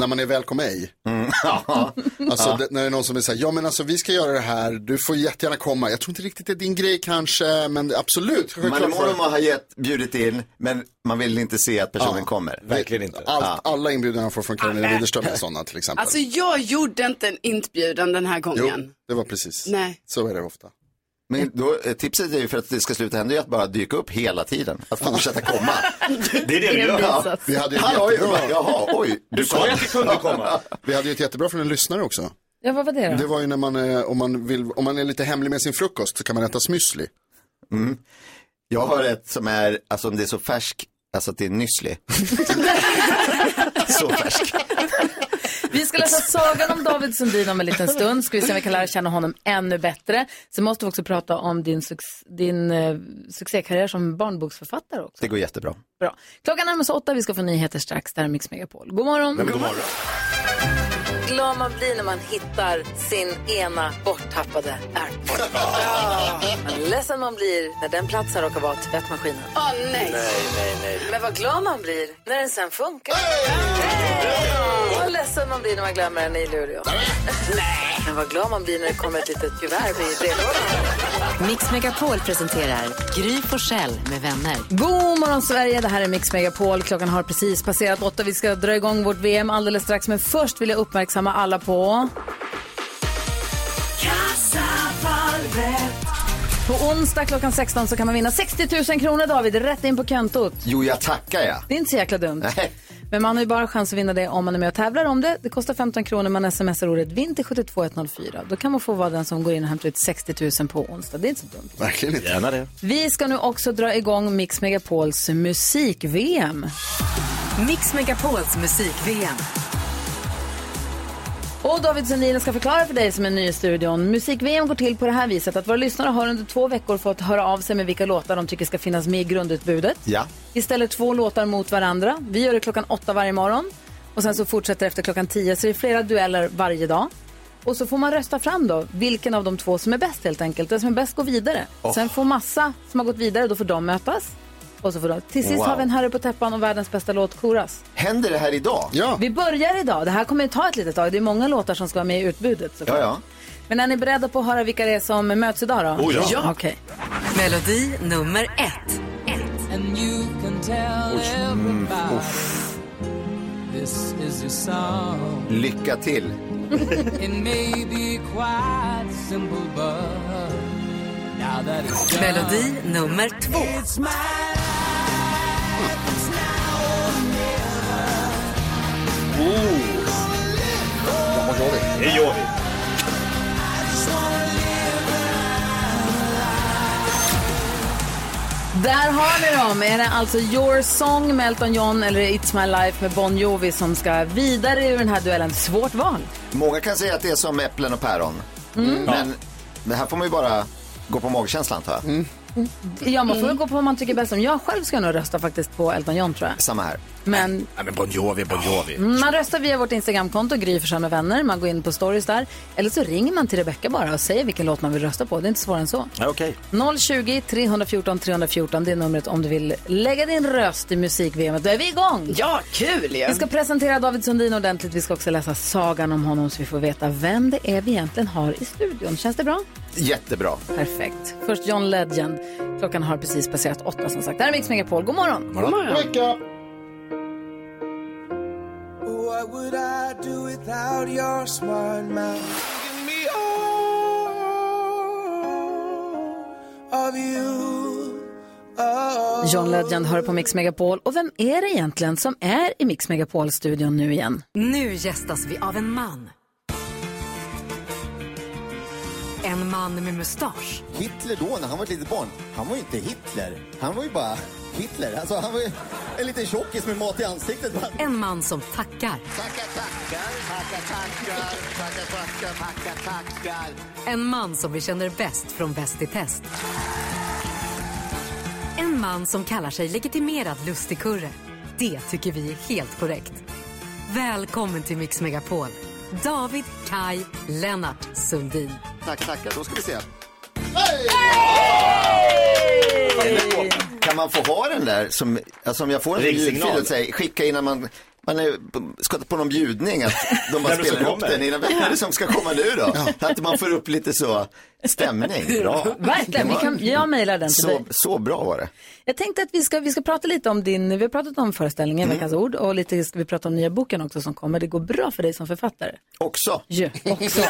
Speaker 5: När man är välkommen ej. Alltså
Speaker 14: Ja.
Speaker 5: det, när det är någon som är så här, Mm. ja men alltså vi ska göra det här, du får jättegärna komma. Jag tror inte riktigt det är din grej kanske, men absolut.
Speaker 14: Manemonoma har gett, bjudit in, men man vill inte se att personen
Speaker 5: Ja.
Speaker 14: kommer.
Speaker 5: Verkligen
Speaker 14: inte.
Speaker 5: Allt, alla inbjudningar han får från Karolina
Speaker 4: Amen.
Speaker 5: Widerström är sådana till exempel.
Speaker 4: Ah. Alltså jag gjorde inte en inbjudan den här gången.
Speaker 5: jo, det var precis.
Speaker 4: Nej.
Speaker 5: Så är det ofta.
Speaker 14: Men då, eh, tipset är ju för att det ska sluta hända är att bara dyka upp hela tiden. Att fortsätta komma.
Speaker 5: Det är det vi gör.
Speaker 14: Ja,
Speaker 5: Vi hade ju ett
Speaker 14: Hallå,
Speaker 5: jättebra.
Speaker 14: Jaha, oj.
Speaker 5: Du sa ju att vi
Speaker 14: kunde komma.
Speaker 5: Vi hade ju ett jättebra från en lyssnare också.
Speaker 1: Ja, vad var det då?
Speaker 5: Det var ju när man, eh, om man, vill, om man är lite hemlig med sin frukost så kan man äta müsli.
Speaker 14: Mm. Jag har ett som är, alltså om det är så färsk, alltså att det är nysslig. så färsk.
Speaker 1: Vi ska läsa sagan om David Sundin om en liten stund. Ska vi se om vi kan lära känna honom ännu bättre. Så måste vi också prata om din, suc- din eh, succékarriär som barnboksförfattare också.
Speaker 14: Det går jättebra.
Speaker 1: Bra. Klockan närmar sig åtta, vi ska få nyheter strax. Där är Mix Megapol. God morgon.
Speaker 14: Men god morgon.
Speaker 1: Glad man blir när man hittar sin ena borttappade airpod. Men ledsen man blir när den platsen råkar vara tvättmaskinen. Åh nej.
Speaker 2: nej, nej.
Speaker 1: Men vad glad man blir när den sen funkar. Hey! Vad ledsen man blir när man glömmer den i luren. Nej. Men vad glad man blir när det kommer ett litet kuvert i brevlådan.
Speaker 2: Mix Megapol presenterar Gry Forssell med vänner.
Speaker 1: God morgon Sverige, det här är Mix Megapol. Klockan har precis passerat åtta. Vi ska dra igång vårt VM alldeles strax. Men först vill jag uppmärksamma alla på... På onsdag klockan 16 så kan man vinna 60 000 kronor David, rätt in på kontot.
Speaker 14: Jo, jag tackar ja.
Speaker 1: Det är inte så jäkla dumt.
Speaker 14: Nej.
Speaker 1: Men man har ju bara chans att vinna det om man är med och tävlar om det. Det kostar 15 kronor, man smsar ordet vinter 72104. Då kan man få vara den som går in och hämtar ut 60 000 på onsdag. Det är inte så dumt.
Speaker 5: Verkligen inte. Gärna det.
Speaker 1: Vi ska nu också dra igång Mix Megapols musik-VM.
Speaker 2: Mix Megapols musik-VM.
Speaker 1: Och David Sundin jag ska förklara för dig som är ny i studion. Musik-VM går till på det här viset att våra lyssnare har under två veckor fått höra av sig med vilka låtar de tycker ska finnas med i grundutbudet.
Speaker 14: Ja.
Speaker 1: Vi ställer två låtar mot varandra. Vi gör det klockan åtta varje morgon. Och sen så fortsätter det efter klockan tio. Så det är flera dueller varje dag. Och så får man rösta fram då vilken av de två som är bäst helt enkelt. Den som är bäst går vidare.
Speaker 2: Oh.
Speaker 1: Sen får massa som har gått vidare, då får de mötas. Och så får de. Till sist
Speaker 14: Wow.
Speaker 1: har vi en herre på täppan och världens bästa låt koras.
Speaker 14: Händer det här idag?
Speaker 5: Ja.
Speaker 1: Vi börjar idag. Det här kommer ju ta ett litet tag. Det är många låtar som ska vara med i utbudet såklart.
Speaker 14: Ja, ja.
Speaker 1: Men är ni beredda på att höra vilka det är som möts idag då?
Speaker 2: Oh, ja. Ja.
Speaker 1: Okej.
Speaker 2: Melodi nummer ett.
Speaker 15: And you can tell everybody this is your song.
Speaker 14: Lycka till.
Speaker 15: It may be quite simple, but now that it's done,
Speaker 2: Melodi nummer två.
Speaker 3: Det gör vi.
Speaker 1: Där har vi dem. Är det alltså Your Song med Elton John eller It's My Life med Bon Jovi som ska vidare ur den här duellen? Svårt val.
Speaker 14: Många kan säga att det är som äpplen och päron.
Speaker 1: Mm.
Speaker 14: Men det här får man ju bara gå på magkänslan antar jag.
Speaker 1: Ja, man får väl gå på vad man tycker bäst om. Jag själv ska nog rösta faktiskt på Elton John tror jag.
Speaker 14: Samma här.
Speaker 1: Men
Speaker 3: Nej men Bon Jovi, Bon Jovi.
Speaker 1: man röstar via vårt Instagramkonto, Gry Forssell med vänner. Man går in på stories där. Eller så ringer man till Rebecca bara och säger vilken låt man vill rösta på. Det är inte svårare än så.
Speaker 3: Ja, Okej.
Speaker 1: 020 314 314, det är numret om du vill lägga din röst i musik-VM. Då är vi igång!
Speaker 4: Ja, kul ju!
Speaker 1: Vi ska presentera David Sundin ordentligt. Vi ska också läsa sagan om honom så vi får veta vem det är vi egentligen har i studion. Känns det bra?
Speaker 14: Jättebra.
Speaker 1: Perfekt. Först John Legend. Klockan har precis passerat åtta som sagt. Det här är Mix Megapol. God morgon.
Speaker 15: morgon. God morgon.
Speaker 5: Wake up.
Speaker 15: What would I do without your smart mouth? Give me all of you. Oh.
Speaker 1: John Legend hör på Mix Megapol. Och vem är det egentligen som är i Mix Megapol-studion nu igen?
Speaker 2: Nu gästas vi av en man. En man med mustasch.
Speaker 14: Hitler då, när han var ett litet barn, han var ju inte Hitler. Han var ju bara Hitler. Alltså, han var ju en liten tjockis med mat i ansiktet. bara.
Speaker 2: En man som tackar.
Speaker 14: Tackar, tackar, tackar, tackar, tackar, tackar, tackar, tackar.
Speaker 2: En man som vi känner bäst från Bäst i test. En man som kallar sig legitimerad lustigkurre. Det tycker vi är helt korrekt. Välkommen till Mix Megapol. David Kai Lennart Sundin.
Speaker 14: Tack, tackar. Då ska vi se. Kan man få ha den där som, alltså om jag får en
Speaker 3: Ringsignal.
Speaker 14: ljudfil och säger skicka innan man, man är, ska på någon bjudning att de bara
Speaker 3: Vem är det som
Speaker 14: spelar upp
Speaker 3: kommer?
Speaker 14: den innan, vem är det som ska komma nu då? Att man får upp lite så stämning, bra.
Speaker 1: Verkligen. Vi kan, jag mejlar den till dig.
Speaker 14: Så, så bra var det.
Speaker 1: Jag tänkte att vi ska, vi ska prata lite om din, vi har pratat om föreställningen Veckans ord och lite ska vi prata om nya boken också som kommer. Det går bra för dig som författare.
Speaker 14: Också.
Speaker 1: Ja, också.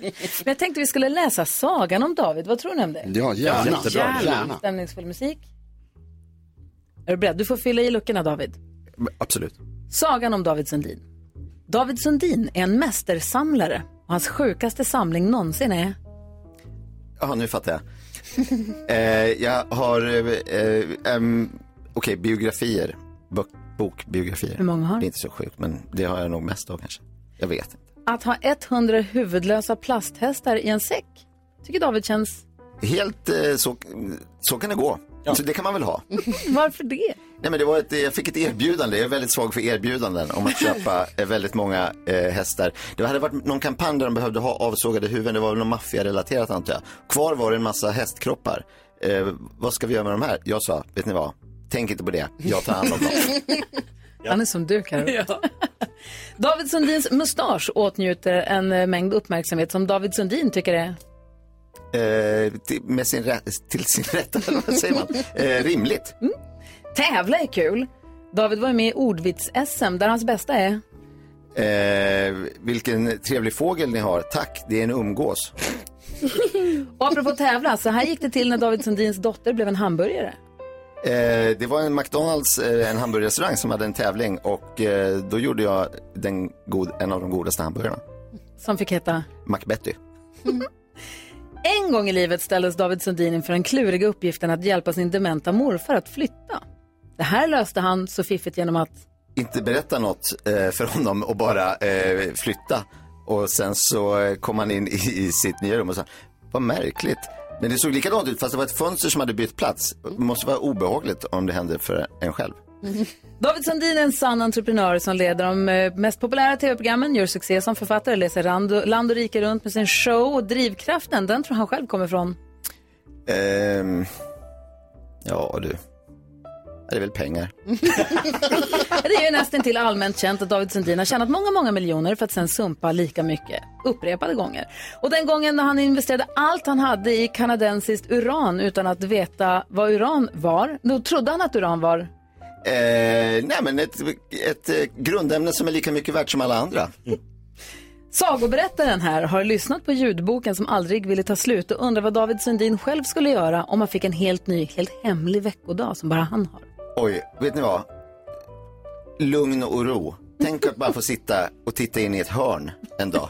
Speaker 1: Men jag tänkte vi skulle läsa sagan om David. Vad tror ni om det?
Speaker 5: Ja, gärna.
Speaker 14: Jättebra.
Speaker 5: Gärna.
Speaker 1: Stämningsfull musik. Är du beredd? Du får fylla i luckorna David.
Speaker 14: Absolut.
Speaker 1: Sagan om David Sundin. David Sundin är en mästersamlare och hans sjukaste samling någonsin är...
Speaker 14: Ja, nu fattar jag. eh, jag har, eh, eh, em, okej, biografier. Bok, bokbiografier.
Speaker 1: Hur många har du?
Speaker 14: Det är inte så sjukt, men det har jag nog mest av kanske. Jag vet inte.
Speaker 1: Att ha 100 huvudlösa plasthästar i en säck. Tycker David känns...
Speaker 14: Helt eh, så, så kan det gå. Så det kan man väl ha.
Speaker 1: Varför det?
Speaker 14: Nej, men det var ett, jag fick ett erbjudande, jag är väldigt svag för erbjudanden om att köpa eh, väldigt många eh, hästar. Det hade varit någon kampanj där de behövde ha avsågade huvuden, det var väl något maffiarelaterat antar jag. Kvar var det en massa hästkroppar. Eh, vad ska vi göra med de här? Jag sa, vet ni vad? Tänk inte på det, jag tar hand om dem.
Speaker 1: Han är som du, Karo. David Sundins mustasch åtnjuter en eh, mängd uppmärksamhet som David Sundin tycker är...
Speaker 14: Eh, till, med sin rä- till sin rätta, eller vad säger man? Eh, rimligt.
Speaker 1: Tävla är kul. David var ju med i ordvits-SM där hans bästa är...
Speaker 14: Eh, vilken trevlig fågel ni har. Tack, det är en umgås.
Speaker 1: Och apropå tävla, så här gick det till när David Sundins dotter blev en hamburgare.
Speaker 14: Eh, det var en McDonalds, eh, en hamburgerrestaurang som hade en tävling och eh, då gjorde jag den god, en av de godaste hamburgarna.
Speaker 1: Som fick heta...
Speaker 14: McBetty.
Speaker 1: En gång i livet ställdes David Sundin inför den kluriga uppgiften att hjälpa sin dementa morfar att flytta. Det här löste han så fiffigt genom att...
Speaker 14: Inte berätta något eh, för honom och bara eh, flytta. Och sen så eh, kom han in i, i sitt nya rum och sa, vad märkligt. Men det såg likadant ut fast det var ett fönster som hade bytt plats. Det måste vara obehagligt om det hände för en själv.
Speaker 1: David Sundin är en sann entreprenör som leder de eh, mest populära tv-programmen, gör succé som författare, läser rand- land och rike runt med sin show och drivkraften, den tror han själv kommer från.
Speaker 14: Ehm, ja du. Det är väl pengar.
Speaker 1: Det är ju nästan till allmänt känt att David Sundin har tjänat många, många miljoner för att sen sumpa lika mycket upprepade gånger. Och den gången när han investerade allt han hade i kanadensiskt uran utan att veta vad uran var, då trodde han att uran var
Speaker 14: Eh, nej men ett, ett eh, grundämne som är lika mycket värt som alla andra.
Speaker 1: Sagoberättaren här har lyssnat på ljudboken som aldrig ville ta slut och undrar vad David Sundin själv skulle göra om han fick en helt ny, helt hemlig veckodag som bara han har.
Speaker 14: Oj, vet ni vad? Lugn och ro. Tänk att bara få sitta och titta in i ett hörn en dag.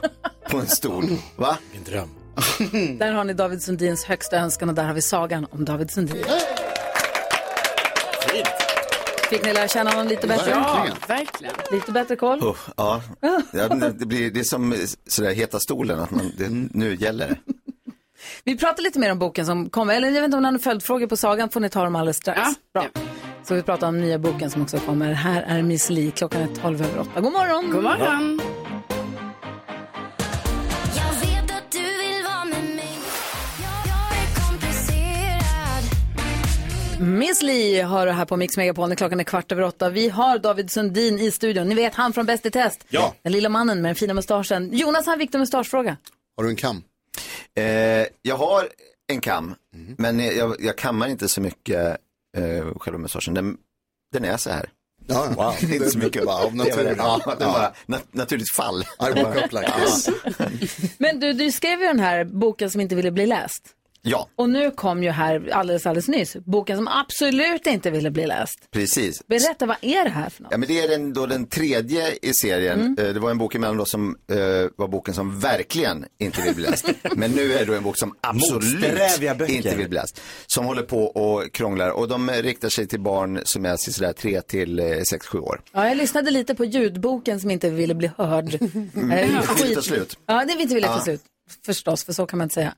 Speaker 14: På en stol. Va? En dröm.
Speaker 1: Där har ni David Sundins högsta önskan och där har vi sagan om David Sundin. Fick ni lära känna honom lite bättre?
Speaker 14: Verkligen.
Speaker 1: verkligen. Lite bättre koll?
Speaker 14: Oh, ja, Ja, men det, blir, det är som sådär heta stolen, att man, det, nu gäller det.
Speaker 1: Vi pratar lite mer om boken som kommer. Eller jag vet inte om ni har några följdfrågor på sagan får ni ta dem alldeles strax. Bra. Så vi pratar om nya boken som också kommer. Här är Miss Li. Klockan är 12 över 8. God morgon!
Speaker 4: God morgon.
Speaker 7: Jag vet att du vill vara med mig Jag, jag är komplicerad
Speaker 1: Miss Li hör du här på Mix Megapol när klockan är kvart över åtta. Vi har David Sundin i studion. Ni vet han från Bäst i test.
Speaker 5: Ja.
Speaker 1: Den lilla mannen med den fina mustaschen. Jonas har en viktig mustaschfråga.
Speaker 5: Har du en kam?
Speaker 14: Eh, jag har en kam, men jag, jag kammar inte så mycket eh, själva massagen. Den, den är så här.
Speaker 5: Ja,
Speaker 14: wow. Det är inte så mycket.
Speaker 5: Bara av
Speaker 14: Det är väl det.
Speaker 5: naturen.
Speaker 14: Ja, den
Speaker 5: Ja.
Speaker 14: bara, nat- naturligt fall.
Speaker 5: I woke up like this.
Speaker 1: Men du, du skrev ju den här boken som inte ville bli läst.
Speaker 14: Ja,
Speaker 1: Och nu kom ju här alldeles, alldeles nyss boken som absolut inte ville bli läst.
Speaker 14: precis.
Speaker 1: Berätta, vad är det här för något?
Speaker 14: Ja, men det är den, då den tredje i serien.
Speaker 1: Mm.
Speaker 14: Eh, Det var en bok emellan då som eh, var boken som verkligen inte vill bli läst. men nu är det då en bok som
Speaker 3: Motsträviga
Speaker 14: absolut
Speaker 3: böcker.
Speaker 14: inte vill bli läst. Som håller på och krånglar och de eh, riktar sig till barn som är sådär 3 till 6-7 år.
Speaker 1: Ja, jag lyssnade lite på ljudboken som inte ville bli hörd.
Speaker 14: Mm.
Speaker 1: Eh,
Speaker 14: Inte
Speaker 1: skit-
Speaker 14: vill ta slut. Ah.
Speaker 1: Ja, det vill inte ville ta
Speaker 14: Ja.
Speaker 1: slut. Förstås, för så kan man inte säga.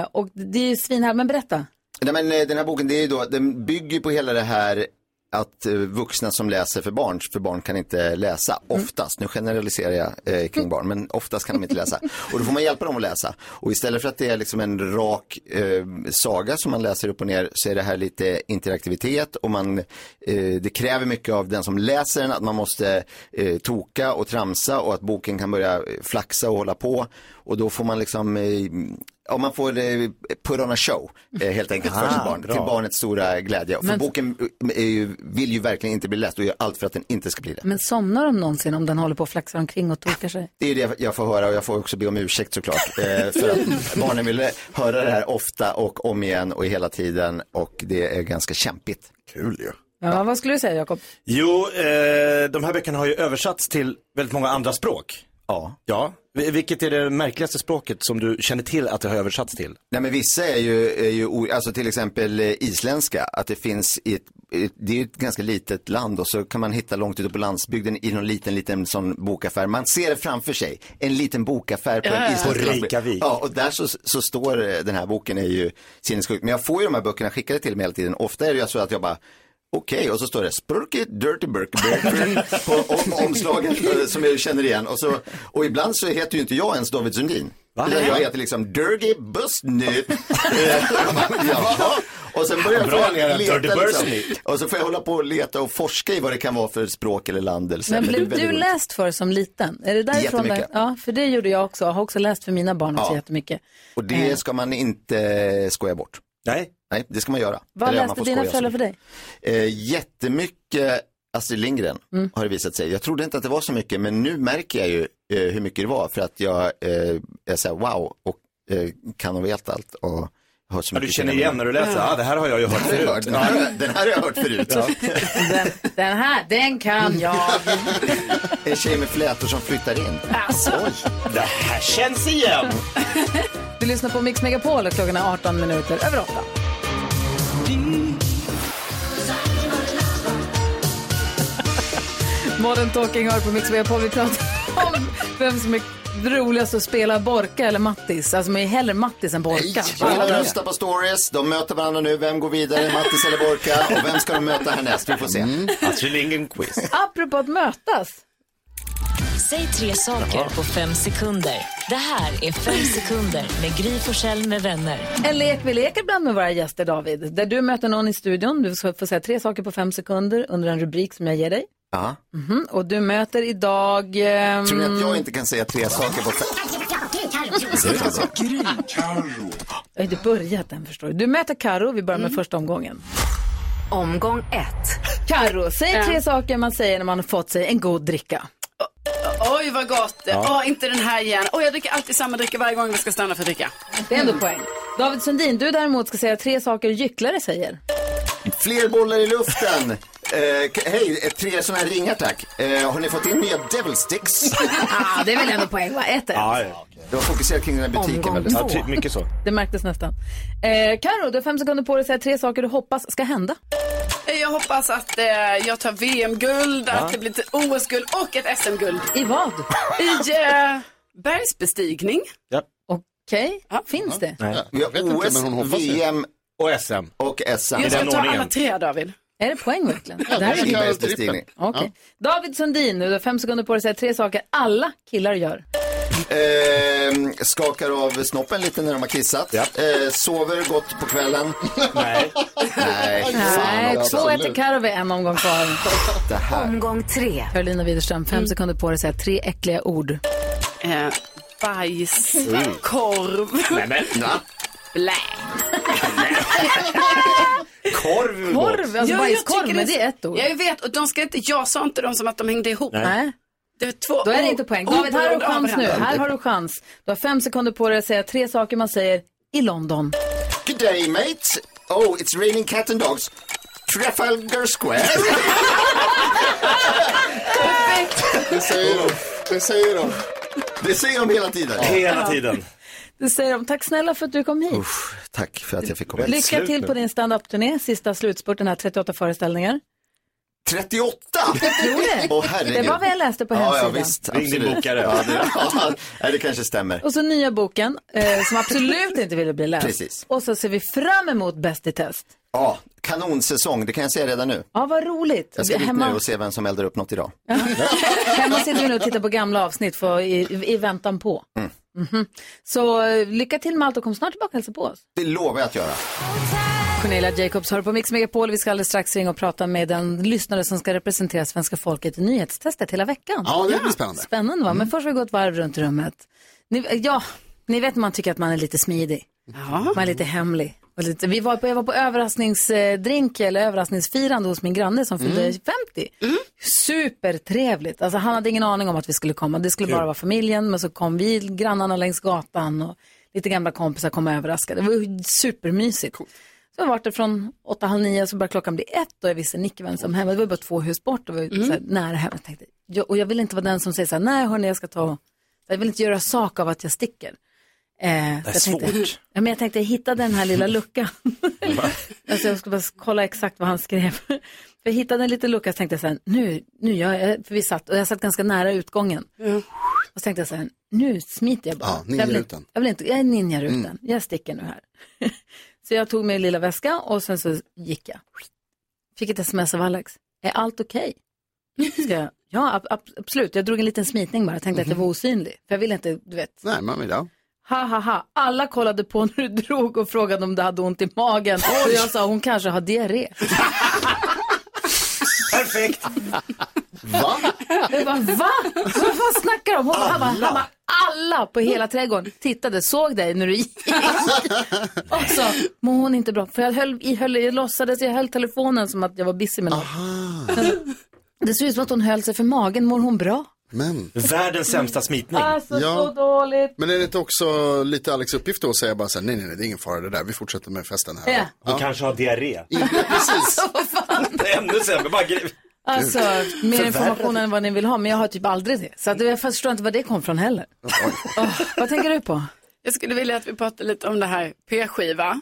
Speaker 1: Eh, och det är ju svinhär, men berätta.
Speaker 14: Nej, men eh, den här boken det är ju då, den bygger på hela det här att eh, vuxna som läser för barn, för barn kan inte läsa oftast. Nu generaliserar jag eh, kring barn, men oftast kan de inte läsa. Och då får man hjälpa dem att läsa. Och istället för att det är liksom en rak eh, saga som man läser upp och ner så är det här lite interaktivitet och man, eh, det kräver mycket av den som läser den att man måste eh, toka och tramsa och att boken kan börja eh, flaxa och hålla på. Och då får man liksom eh, Ja, man får eh, put on a show eh, helt enkelt för
Speaker 3: Ah,
Speaker 14: sitt barn,
Speaker 3: bra.
Speaker 14: till barnets stora glädje. För
Speaker 1: Men-
Speaker 14: boken eh, är ju, vill ju verkligen inte bli läst och gör allt för att den inte ska bli det.
Speaker 1: Men somnar de någonsin om den håller på och flaxar omkring och tokar sig?
Speaker 14: Det är det jag får höra och jag får också be om ursäkt såklart. Eh, för att barnen vill höra det här ofta och om igen och hela tiden och det är ganska kämpigt.
Speaker 5: Kul ju.
Speaker 1: Ja, vad skulle du säga Jakob?
Speaker 3: Jo, eh, de här böckerna har ju översatts till väldigt många andra språk.
Speaker 14: Ja.
Speaker 3: Ja, Vi- vilket är det märkligaste språket som du känner till att det har översatts till?
Speaker 14: Nej men vissa är ju, är ju o- alltså till exempel eh, isländska, att det finns i ett, ett- det är ju ett ganska litet land och så kan man hitta långt ute på landsbygden i någon liten, liten sån bokaffär. Man ser det framför sig, en liten bokaffär på
Speaker 3: Ja, ja,
Speaker 14: en
Speaker 3: ja.
Speaker 14: isländsk
Speaker 3: På
Speaker 14: landsbygd.
Speaker 3: Reykjavik.
Speaker 14: Ja, och där så, så står eh, den här boken är ju sinnessjuk. Men jag får ju de här böckerna skickade till mig hela tiden. Ofta är det ju så att jag bara Okej, och så står det Spurky Dirty Burke Burke på om, omslaget eh, som jag känner igen. Och, så, och ibland så heter ju inte jag ens David Sundin. Utan Jag heter liksom Dirty Bustny. Jaha. Och sen börjar
Speaker 3: Bra, Lena,
Speaker 14: jag leta,
Speaker 3: Dirty Bustny.
Speaker 14: liksom. Och så får jag hålla på och leta och forska i vad det kan vara för språk eller land. Eller så.
Speaker 1: Men
Speaker 14: det är
Speaker 1: blev
Speaker 14: väldigt
Speaker 1: du
Speaker 14: roligt.
Speaker 1: läst för som liten? Är det därifrån?
Speaker 14: Jättemycket.
Speaker 1: Ja, för det gjorde jag också. Jag har också läst för mina barn också
Speaker 14: Ja.
Speaker 1: jättemycket.
Speaker 14: Och det ska man inte eh, skoja bort.
Speaker 3: Nej.
Speaker 14: Nej, det ska man göra.
Speaker 1: Vad
Speaker 14: Eller man
Speaker 1: läste
Speaker 14: får
Speaker 1: dina
Speaker 14: skoja så
Speaker 1: föräldrar för dig? Mm.
Speaker 14: Eh, jättemycket Astrid Lindgren har det visat sig. Jag trodde inte att det var så mycket men nu märker jag ju eh, hur mycket det var för att jag eh, är så här wow och eh, kan och vet allt. Och har så
Speaker 3: Ja, du
Speaker 14: mycket
Speaker 3: känner
Speaker 14: kännedom.
Speaker 3: igen när du läser, ja det här har jag ju hört
Speaker 14: Den här har
Speaker 3: förut.
Speaker 14: jag hört. Den här har jag- den här har jag hört förut.
Speaker 3: Ja.
Speaker 1: Den här, den kan jag.
Speaker 14: En tjej med flätor som flyttar in.
Speaker 1: Alltså,
Speaker 3: Det här känns igen.
Speaker 1: Du lyssnar på Mix Megapol och klockan är 18 minuter över 8. Modern Talking hör på Mix Megapol. Vi pratar om vem som är roligast att spela Borka eller Mattis. Alltså man är hellre Mattis än Borka.
Speaker 14: Alla röstar på stories, de möter varandra nu. Vem går vidare, Mattis eller Borka? Och vem ska de möta härnäst? Vi får se.
Speaker 1: Mm.
Speaker 3: Astrid Lindgren-quiz.
Speaker 1: Apropå att mötas.
Speaker 12: Säg tre saker på fem sekunder. Det här är Fem sekunder med Gry Forssell med vänner.
Speaker 1: En lek vi leker ibland med våra gäster, David. Där du möter någon i studion. Du ska få säga tre saker på fem sekunder under en rubrik som jag ger dig.
Speaker 14: Ja.
Speaker 1: Mhm. Och du möter idag... ehm,
Speaker 14: Tror ni att jag inte kan säga tre saker på fem?
Speaker 1: Jag har inte börjat den förstår du. Du möter Karo, vi börjar med första omgången. Mm. Omgång ett. Karo, säg
Speaker 4: Ja.
Speaker 1: tre saker man säger när man har fått sig en god dricka.
Speaker 4: Oj, vad gott. Åh,
Speaker 1: Ja.
Speaker 4: inte den här igen. Åh, jag dricker alltid samma dryck varje gång vi ska stanna för att dricka.
Speaker 1: Det är ändå poäng. David Sundin, du däremot ska säga tre saker gycklare säger.
Speaker 14: Fler bollar i luften. Eh, k- hej, eh, tre sådana här ringar tack. Eh, har ni fått in nya devil sticks?
Speaker 1: ah, det är väl ändå poäng va? Ett, ett.
Speaker 14: ja. Du har fokuserat kring den här butiken
Speaker 1: Omgång
Speaker 14: väldigt
Speaker 1: två.
Speaker 8: typ.
Speaker 1: Ja, ty- mycket
Speaker 3: typ så.
Speaker 1: Det märktes nästan. Eh, Karo, du har fem sekunder på dig att säga tre saker du hoppas ska hända.
Speaker 4: Eh, Jag hoppas att eh, jag tar VM-guld,
Speaker 1: Ja.
Speaker 4: att det blir ett OS-guld och ett SM-guld.
Speaker 1: I vad?
Speaker 4: I eh, bergsbestigning.
Speaker 1: Okej, finns det?
Speaker 14: Vi
Speaker 4: vet
Speaker 14: har
Speaker 4: inte,
Speaker 14: OS,
Speaker 4: men hon hoppas ju.
Speaker 14: VM
Speaker 3: och SM.
Speaker 14: Och SM.
Speaker 4: Just det, jag tar alla tre David.
Speaker 1: Är det poäng verkligen?
Speaker 14: Ja,
Speaker 1: Det här
Speaker 14: det är
Speaker 1: är-
Speaker 14: ju bergsbestigning.
Speaker 1: Okej. David Sundin, du har fem sekunder på dig att säga tre saker alla killar gör.
Speaker 14: Eh, skakar av snoppen lite när de har kissat. Eh, sover gott på kvällen. Nej. Nej,
Speaker 1: Nej,
Speaker 14: fan
Speaker 1: två
Speaker 14: också.
Speaker 1: ett till Karo, vi har en omgång kvar.
Speaker 14: Det här.
Speaker 4: Mm.
Speaker 1: Omgång tre. Carolina Widerström, fem sekunder på dig att säga tre äckliga ord.
Speaker 4: Eh, bajs,
Speaker 7: Mm.
Speaker 4: korv.
Speaker 7: Nej, men, va?
Speaker 4: Blä.
Speaker 3: Korv är
Speaker 1: Korv,
Speaker 3: gott.
Speaker 1: alltså
Speaker 4: Ja, jag
Speaker 1: bajskorv,
Speaker 4: tycker
Speaker 1: men det är ett ord.
Speaker 4: Jag vet, och de ska inte, jag sa inte dem som att de hängde ihop.
Speaker 1: Nej. Nej.
Speaker 4: Det är två
Speaker 1: Då är det
Speaker 4: o-
Speaker 1: inte poäng. David, här har du
Speaker 4: oberoende av
Speaker 1: chans nu.
Speaker 4: varandra.
Speaker 1: Här har du chans. Du har fem sekunder på dig att säga tre saker man säger i London.
Speaker 14: Good day mate. Oh, it's raining cat and dogs. Trafalgar Square.
Speaker 5: Det säger de. Det säger de.
Speaker 14: Det säger de hela tiden.
Speaker 3: Hela tiden.
Speaker 1: Det säger de. Tack snälla för att du kom hit.
Speaker 14: Tack för att jag fick komma
Speaker 1: Lycka till på din stand-up-turné, sista slutspurten här, 38 föreställningar.
Speaker 14: 38!
Speaker 1: Jag tror det.
Speaker 14: Åh, herregud.
Speaker 1: Det var vad jag läste på
Speaker 14: ja, ja,
Speaker 1: hemsidan.
Speaker 14: visst,
Speaker 3: Ring din
Speaker 14: absolut.
Speaker 3: bokare.
Speaker 14: Ja, det, ja, nej, det kanske stämmer.
Speaker 1: Och så nya boken, eh, som absolut inte ville bli läst.
Speaker 14: Precis.
Speaker 1: Och så ser vi fram emot Bäst i test.
Speaker 14: Ja, kanonsäsong, det kan jag säga redan nu.
Speaker 1: Ja, vad roligt.
Speaker 14: Jag ska dit
Speaker 1: hemma,
Speaker 14: nu och se vem som eldar upp något idag.
Speaker 1: hemma sitter vi nu och tittar på gamla avsnitt för, i, i, i väntan på.
Speaker 14: Mm.
Speaker 1: Mhm. Så eh, lycka till med allt och kom snart tillbaka och hälsa på oss.
Speaker 14: Det lovar jag att göra.
Speaker 1: Cornelia Jacobs hör på Mix Megapol. Vi ska alldeles strax ringa och prata med den lyssnare som ska representera svenska folket i nyhetstestet hela veckan.
Speaker 5: Ja, det blir spännande.
Speaker 1: Spännande va?
Speaker 2: Mm.
Speaker 1: Men först ska vi gå ett varv runt rummet. Ni, ja, ni vet när man tycker att man är lite smidig. Man är lite hemlig. Och lite, vi var på, jag var på överraskningsdrink eller överraskningsfirande hos min granne som fyllde
Speaker 2: Mm.
Speaker 1: 50. Supertrevligt. Alltså, han hade ingen aning om att vi skulle komma. Det skulle
Speaker 2: Kul.
Speaker 1: bara vara familjen, men så kom vi, grannarna längs gatan och lite gamla kompisar kom och överraskade. Det var ju supermysigt. Så jag vart det från åtta, halv nio, så började klockan bli ett och jag visste Nicke vem som hemma. Det var ju bara två hus bort och vi var
Speaker 2: Mm.
Speaker 1: ju så här, nära hemma. Jag tänkte, jag, och jag vill inte vara den som säger så här, nej hörni, jag ska ta, och-" jag vill inte göra sak av att jag sticker. Eh, det
Speaker 2: är
Speaker 1: jag tänkte,
Speaker 2: svårt.
Speaker 1: Ja, men jag tänkte hitta den här lilla luckan. alltså, jag ska bara kolla exakt vad han skrev. För jag hittade en liten lucka så tänkte jag så här, nu, nu gör jag, för vi satt, och jag satt ganska nära utgången. Och så tänkte jag så här, nu smiter jag bara.
Speaker 5: Ja,
Speaker 1: jag, vill, inte-
Speaker 5: ninjarutan.
Speaker 1: jag vill inte, jag är ninjarutan,
Speaker 5: Mm.
Speaker 1: jag sticker nu här. så jag tog min lilla väska och sen så gick jag. Fick ett sms av Alex, är allt okej? Ska jag? Ja, ab- ab- absolut, jag drog en liten smitning bara, jag tänkte
Speaker 5: Mhm.
Speaker 1: att jag var osynlig. För jag ville inte, du vet,
Speaker 5: Nej, man vill ja.
Speaker 1: Ha, ha, ha. Alla kollade på när du drog och frågade om du hade ont i magen. Och jag sa hon kanske har diarré.
Speaker 3: Perfekt.
Speaker 5: Va?
Speaker 1: Jag bara, va? Vad fan snackar du om? Hon bara, han bara, han bara, alla på hela trädgården tittade, såg dig när du gick. Och så mår hon inte bra. För jag, höll, i, höll, jag låtsades, jag höll telefonen som att jag var busy med något. Det ser ut som att hon höll sig för magen. Mår hon bra?
Speaker 5: Men.
Speaker 3: Världens sämsta smitning.
Speaker 1: Alltså så dåligt.
Speaker 5: Men är det inte också lite Alex uppgift då att säga bara så här, nej, nej, nej, det är ingen fara det där, vi fortsätter med festen här.
Speaker 1: Ja.
Speaker 8: Alltså.
Speaker 3: Hon kanske har diarré.
Speaker 5: Precis.
Speaker 3: Det är ännu sämre. Bara gre-
Speaker 1: Alltså, mer
Speaker 3: Förvärrade.
Speaker 1: information än vad ni vill ha, men jag har typ aldrig det. Så att jag förstår inte var det kom från heller. Åh, vad tänker du
Speaker 3: Mm.
Speaker 1: på?
Speaker 4: Jag skulle vilja att vi pratar lite om det här p-skiva.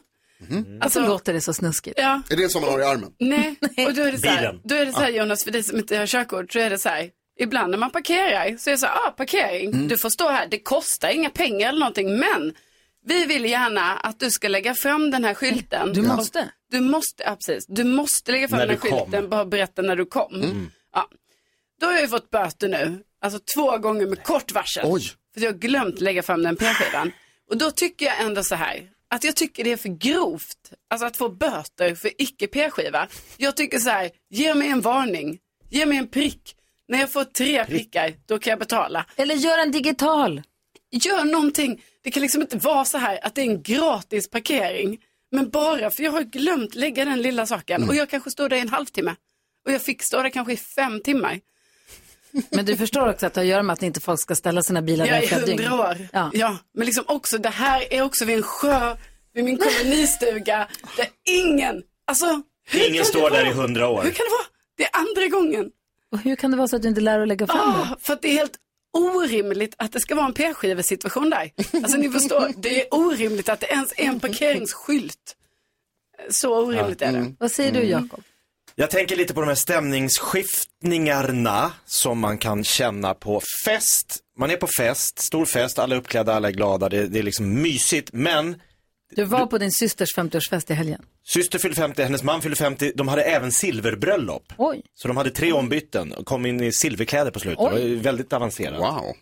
Speaker 1: Alltså, låter det så snuskigt?
Speaker 4: Ja.
Speaker 5: Är det som man har i armen?
Speaker 4: Nej, och då är det så här,
Speaker 5: Bilen.
Speaker 4: då är det så här Jonas, för dig som inte har körkort, så är det så här, ibland när man parkerar så är det så här, ah, parkering,
Speaker 1: Mm.
Speaker 4: du får stå här, det kostar inga pengar eller någonting, men vi vill gärna att du ska lägga fram den här skylten.
Speaker 1: Du måste.
Speaker 4: Du måste, ja, precis. Du måste lägga fram
Speaker 1: När
Speaker 4: den här
Speaker 1: du kom.
Speaker 4: skylten, bara berätta när du kom.
Speaker 1: Mm.
Speaker 4: Ja. Då har jag ju fått böter nu, alltså två gånger med kort varsel. För jag har glömt lägga fram den p-skivan. Och då tycker jag ändå så här, att jag tycker det är för grovt, alltså att få böter för icke p-skiva. Jag tycker så här, ge mig en varning, ge mig en prick. När jag får tre prickar, då kan jag betala.
Speaker 1: Eller gör en digital.
Speaker 4: Gör någonting. Det kan liksom inte vara så här att det är en gratis parkering. Men bara för jag har glömt lägga den lilla saken och jag kanske står där i en halvtimme. Och jag fick stå där kanske i fem timmar.
Speaker 1: Men du förstår också att det har att göra med att inte folk ska ställa sina bilar
Speaker 4: Jag
Speaker 1: där i
Speaker 4: är
Speaker 1: flera dygn.
Speaker 4: hundra år. Ja. men liksom också det här är också vid en sjö, vid min kolonistuga, där ingen, alltså hur kan
Speaker 3: Ingen står
Speaker 4: det
Speaker 3: där i
Speaker 4: vara?
Speaker 3: hundra
Speaker 4: Hur
Speaker 3: år.
Speaker 4: kan det vara? Det är andra gången.
Speaker 1: Och hur kan det vara så att du inte lär dig att lägga fram
Speaker 4: Ah, för att det är helt orimligt att det ska vara en p-skivesituation där. Alltså ni förstår, det är orimligt att det ens är en parkeringsskylt. Så orimligt är det.
Speaker 1: Vad säger du,
Speaker 3: Mm.
Speaker 1: Jakob?
Speaker 3: Jag tänker lite på de här stämningsskiftningarna som man kan känna på fest. Man är på fest, stor fest, alla är uppklädda, alla är glada, det, det är liksom mysigt. Men
Speaker 1: Du var på din systers 50-årsfest i helgen.
Speaker 3: syster fyllde 50, hennes man fyllde 50, de hade även silverbröllop.
Speaker 1: Oj.
Speaker 3: Så de hade tre ombyten och kom in i silverkläder på slutet.
Speaker 1: Oj.
Speaker 3: Det var ju väldigt avancerat.
Speaker 5: Wow.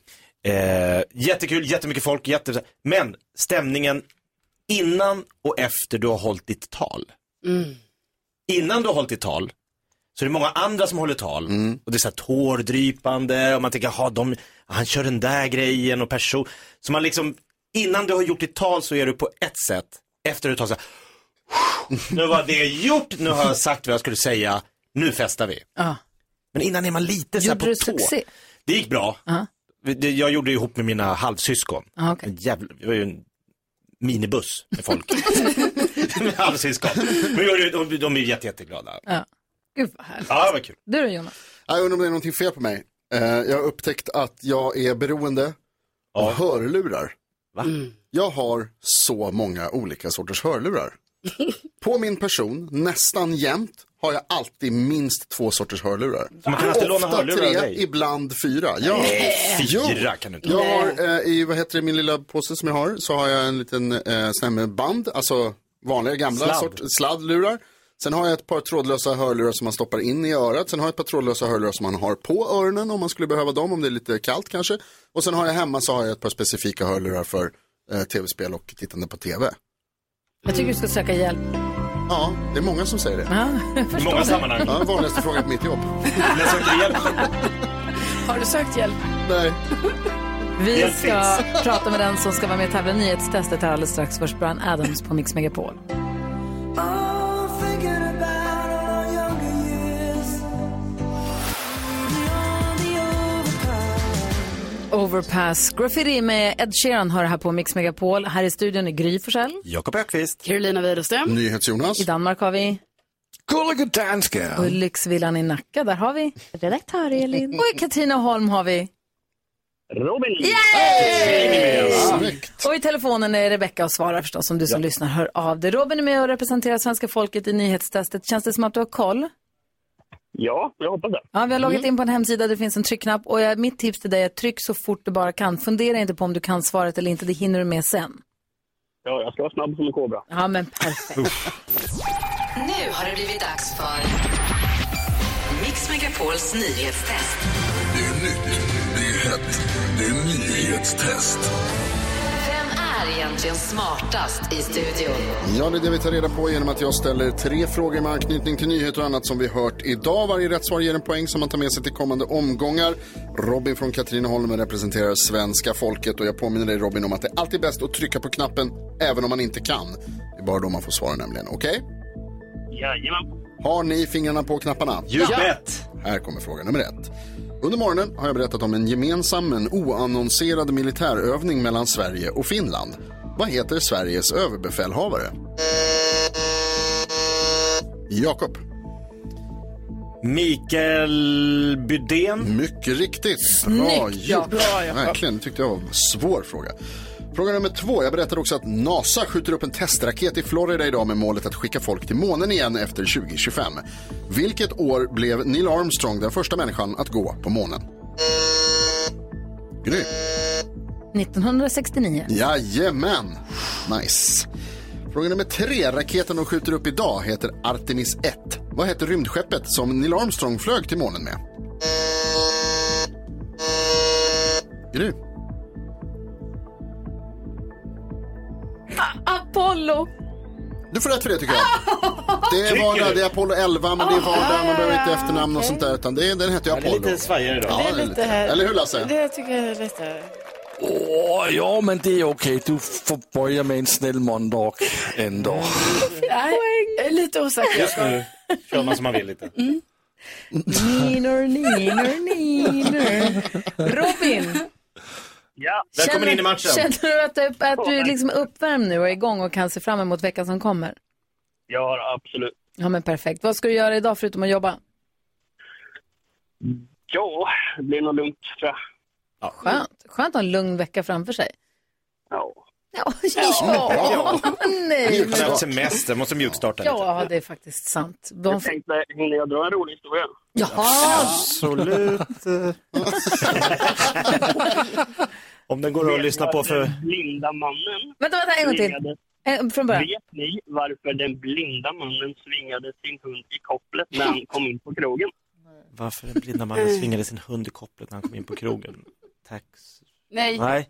Speaker 3: Eh, jättekul, jättemycket folk, jätte... men stämningen innan och efter du har hållit ditt tal.
Speaker 4: Mm.
Speaker 3: Innan du har hållit ditt tal Så det är många andra som håller tal. Och det är så här tårdrypande och man tänker, jaha, de, han kör den där grejen och person. Så man liksom, innan du har gjort ditt tal så är du på ett sätt, efter ett tag så här, nu var det gjort, nu har jag sagt vad jag skulle säga, nu festar vi.
Speaker 1: Ja.
Speaker 3: Men innan är man lite så här
Speaker 1: Ah. Gjorde
Speaker 3: på
Speaker 1: du
Speaker 3: tå.
Speaker 1: succé?
Speaker 3: Det gick bra.
Speaker 1: Ja.
Speaker 3: Vi- det- Jag gjorde det ihop med mina halvsyskon.
Speaker 1: Ja, Ah, okej.
Speaker 3: En jävla, det var ju en minibuss med folk. med halvsyskon. Men jag, de, de är jätte, jätteglada.
Speaker 1: Ja. Gud vad härligt.
Speaker 3: Ja, det var kul.
Speaker 1: Du då Jonas?
Speaker 5: Jag undrar om det är någonting fel på mig. Eh, jag har upptäckt att jag är beroende av hörlurar. Jag har så många olika sorters hörlurar. På min person, nästan jämt, har jag alltid minst två sorters hörlurar.
Speaker 3: Så man kan alltid låna hörlurar av
Speaker 5: tre,
Speaker 3: dig?
Speaker 5: ibland fyra. Ja.
Speaker 3: Nej,
Speaker 5: Jo.
Speaker 3: fyra kan du inte
Speaker 5: Jag
Speaker 3: ha.
Speaker 5: har eh, i, vad heter det, min lilla påse som jag har, så har jag en liten eh, sån här med band, alltså vanliga gamla
Speaker 3: Sladd.
Speaker 5: sort, sladdlurar. Sen har jag ett par trådlösa hörlurar som man stoppar in i örat. Sen har jag ett par trådlösa hörlurar som man har på öronen om man skulle behöva dem, om det är lite kallt kanske. Och sen har jag hemma så har jag ett par specifika hörlurar för eh, tv-spel och tittande på tv.
Speaker 1: Jag tycker du ska söka hjälp.
Speaker 5: Ja, det är många som säger det.
Speaker 1: Ja, jag
Speaker 5: I
Speaker 1: förstår det.
Speaker 5: Ja, vanligaste frågan på mitt jobb.
Speaker 1: Har du sökt hjälp?
Speaker 5: Nej.
Speaker 1: Vi
Speaker 5: Hjälp
Speaker 1: ska
Speaker 5: finns.
Speaker 1: prata med den som ska vara med och tävla i nyhetstestet här alldeles strax. Först Brian Adams på Mix Megapol.
Speaker 15: Oh, thinking about our younger years. The
Speaker 1: Overpass. Graffiti med Ed Sheeran hör här på Mix Megapol. Här i studion är Gry Forssell.
Speaker 3: Jakob Ökvist.
Speaker 1: Carolina Widerström.
Speaker 5: NyhetsJonas.
Speaker 1: I Danmark har vi
Speaker 8: Gulliga danska.
Speaker 1: och i Lyxvillan i Nacka, där har vi redaktör Elin. Och i Katrineholm har vi
Speaker 15: Robin!
Speaker 1: Snyggt. Och i telefonen är Rebecka och svarar förstås om du som lyssnar hör av dig. Robin är med och representerar svenska folket i nyhetstestet. Känns det som att du har koll?
Speaker 15: Ja, jag hoppas det. Mm.
Speaker 1: Ja, vi har loggat in på en hemsida där det finns en tryckknapp och jag, mitt tips till dig är att tryck så fort du bara kan. Fundera inte på om du kan svaret eller inte, det hinner du med sen.
Speaker 15: Ja, jag ska vara snabb som en kobra.
Speaker 1: Ja, men perfekt.
Speaker 2: Nu har det blivit dags för Mix Megapols nyhetstest.
Speaker 15: Det är nytt, det är hett, det är nyhetstest.
Speaker 2: Vem är egentligen smartast i studion?
Speaker 5: Ja, det är det vi tar reda på genom att jag ställer tre frågor med anknytning till nyheter och annat som vi hört idag. Varje rätt svar ger en poäng som man tar med sig till kommande omgångar. Robin från Katrineholm representerar svenska folket och jag påminner dig Robin om att det är alltid bäst att trycka på knappen även om man inte kan. Det är bara då man får svara nämligen, okej?
Speaker 15: Jajamän.
Speaker 5: Har ni fingrarna på knapparna?
Speaker 15: You Ja. bet.
Speaker 5: Här kommer fråga nummer ett. Under morgonen har jag berättat om en gemensam men oannonserad militärövning mellan Sverige och Finland. Vad heter Sveriges överbefälhavare? Jakob.
Speaker 3: Mikael Bydén.
Speaker 5: Mycket riktigt. Bra
Speaker 3: Snyggt, ja.
Speaker 5: gjort.
Speaker 3: Bra, Jakob.
Speaker 5: Verkligen, det tyckte jag var en svår fråga. Fråga nummer två. Jag berättade också att NASA skjuter upp en testraket i Florida idag med målet att skicka folk till månen igen efter 2025. Vilket år blev Neil Armstrong den första människan att gå på månen? Gry.
Speaker 1: 1969.
Speaker 5: Jajamän. Nice. Fråga nummer tre. Raketen de skjuter upp idag heter Artemis 1. Vad heter rymdskeppet som Neil Armstrong flög till månen med? Gry.
Speaker 1: Apollo!
Speaker 5: Du får rätt för det tycker jag. Det var där, det är Apollo 11, men det var där, man behöver inte efternamn och sånt där, utan det, den hette ju
Speaker 3: Ja, det är
Speaker 5: Apollo.
Speaker 3: lite svajigare då.
Speaker 5: Ja, det är lite, eller hur Lasse?
Speaker 16: Det tycker jag är lite...
Speaker 8: Åh, ja, men det är okej. Du får börja med en snäll måndag ändå.
Speaker 16: Nej, jag är lite osäker.
Speaker 3: Just nu kör man som man vill lite.
Speaker 1: Ninor, ninor, ninor. Robin,
Speaker 15: Ja,
Speaker 1: känner, känner du att, du- att du är liksom uppvärmd nu och är igång och kan se fram emot veckan som kommer?
Speaker 15: Ja, absolut.
Speaker 1: Ja, men perfekt. Vad ska du göra idag förutom att jobba?
Speaker 15: Ja, det blir nog lugnt tror jag.
Speaker 1: Skönt. Skönt att ha en lugn vecka framför sig.
Speaker 15: Ja.
Speaker 1: Ja, ja. nej.
Speaker 3: Han har haft semester, måste mjukstarta lite.
Speaker 1: Ja, det är faktiskt sant.
Speaker 15: Jag
Speaker 1: De...
Speaker 15: tänkte, hinner jag dra en rolig historia?
Speaker 1: Jaha!
Speaker 3: Absolut. Om den går att lyssna på för...
Speaker 15: Den blinda mannen...
Speaker 1: Vänta, vänta, en gång till.
Speaker 15: svingade-
Speaker 1: Eh, Från början.
Speaker 15: Vet ni varför den blinda mannen svingade sin hund i kopplet när han kom in på krogen?
Speaker 3: Varför den blinda mannen svingade sin hund i kopplet när han kom in på krogen? Tax.
Speaker 15: Nej.
Speaker 3: Nej.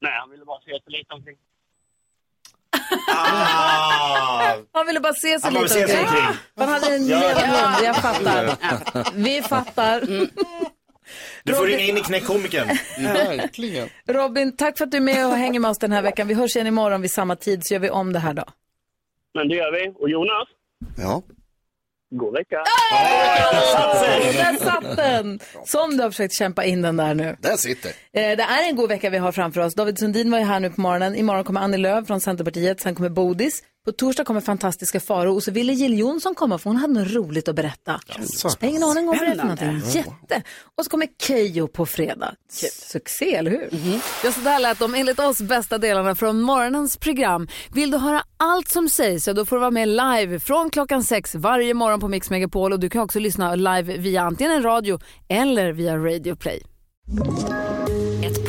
Speaker 15: Nej, han ville bara se sig lite omkring.
Speaker 14: Ah!
Speaker 1: Han ville bara se sig
Speaker 17: Han bara
Speaker 1: lite
Speaker 17: se sig
Speaker 1: omkring.
Speaker 17: omkring.
Speaker 1: Han hade en
Speaker 18: Ja.
Speaker 1: jävla jag
Speaker 18: Ja.
Speaker 1: fattar. Vi fattar.
Speaker 18: Du får
Speaker 1: Robin-
Speaker 18: ringa in i knäckkomikern.
Speaker 1: Verkligen. Robin, tack för att du är med och hänger med oss den här veckan. Vi hörs igen imorgon vid samma tid så gör vi om det här då.
Speaker 15: Men det gör vi. Och Jonas?
Speaker 19: Ja.
Speaker 15: God vecka.
Speaker 1: Där satt den! Som du har försökt kämpa in den där nu.
Speaker 19: Där sitter.
Speaker 1: Eh, Det är en god vecka vi har framför oss. David Sundin var ju här nu på morgonen. Imorgon kommer Annie Lööf från Centerpartiet, sen kommer Bodis. På torsdag kommer fantastiska Faro och så ville Jill Johnson komma för hon hade något roligt att berätta. Jag har ingen aning om vad det är för
Speaker 17: Spännande.
Speaker 1: någonting. Jätte! Och så kommer Keyyo på fredag. Succé, eller hur?
Speaker 20: Mm-hmm. Ja, så där lät de enligt oss bästa delarna från morgonens program. Vill du höra allt som sägs så då får du vara med live från klockan sex varje morgon på Mix Megapol och du kan också lyssna live via antingen en radio eller via Radio Play.
Speaker 2: Ett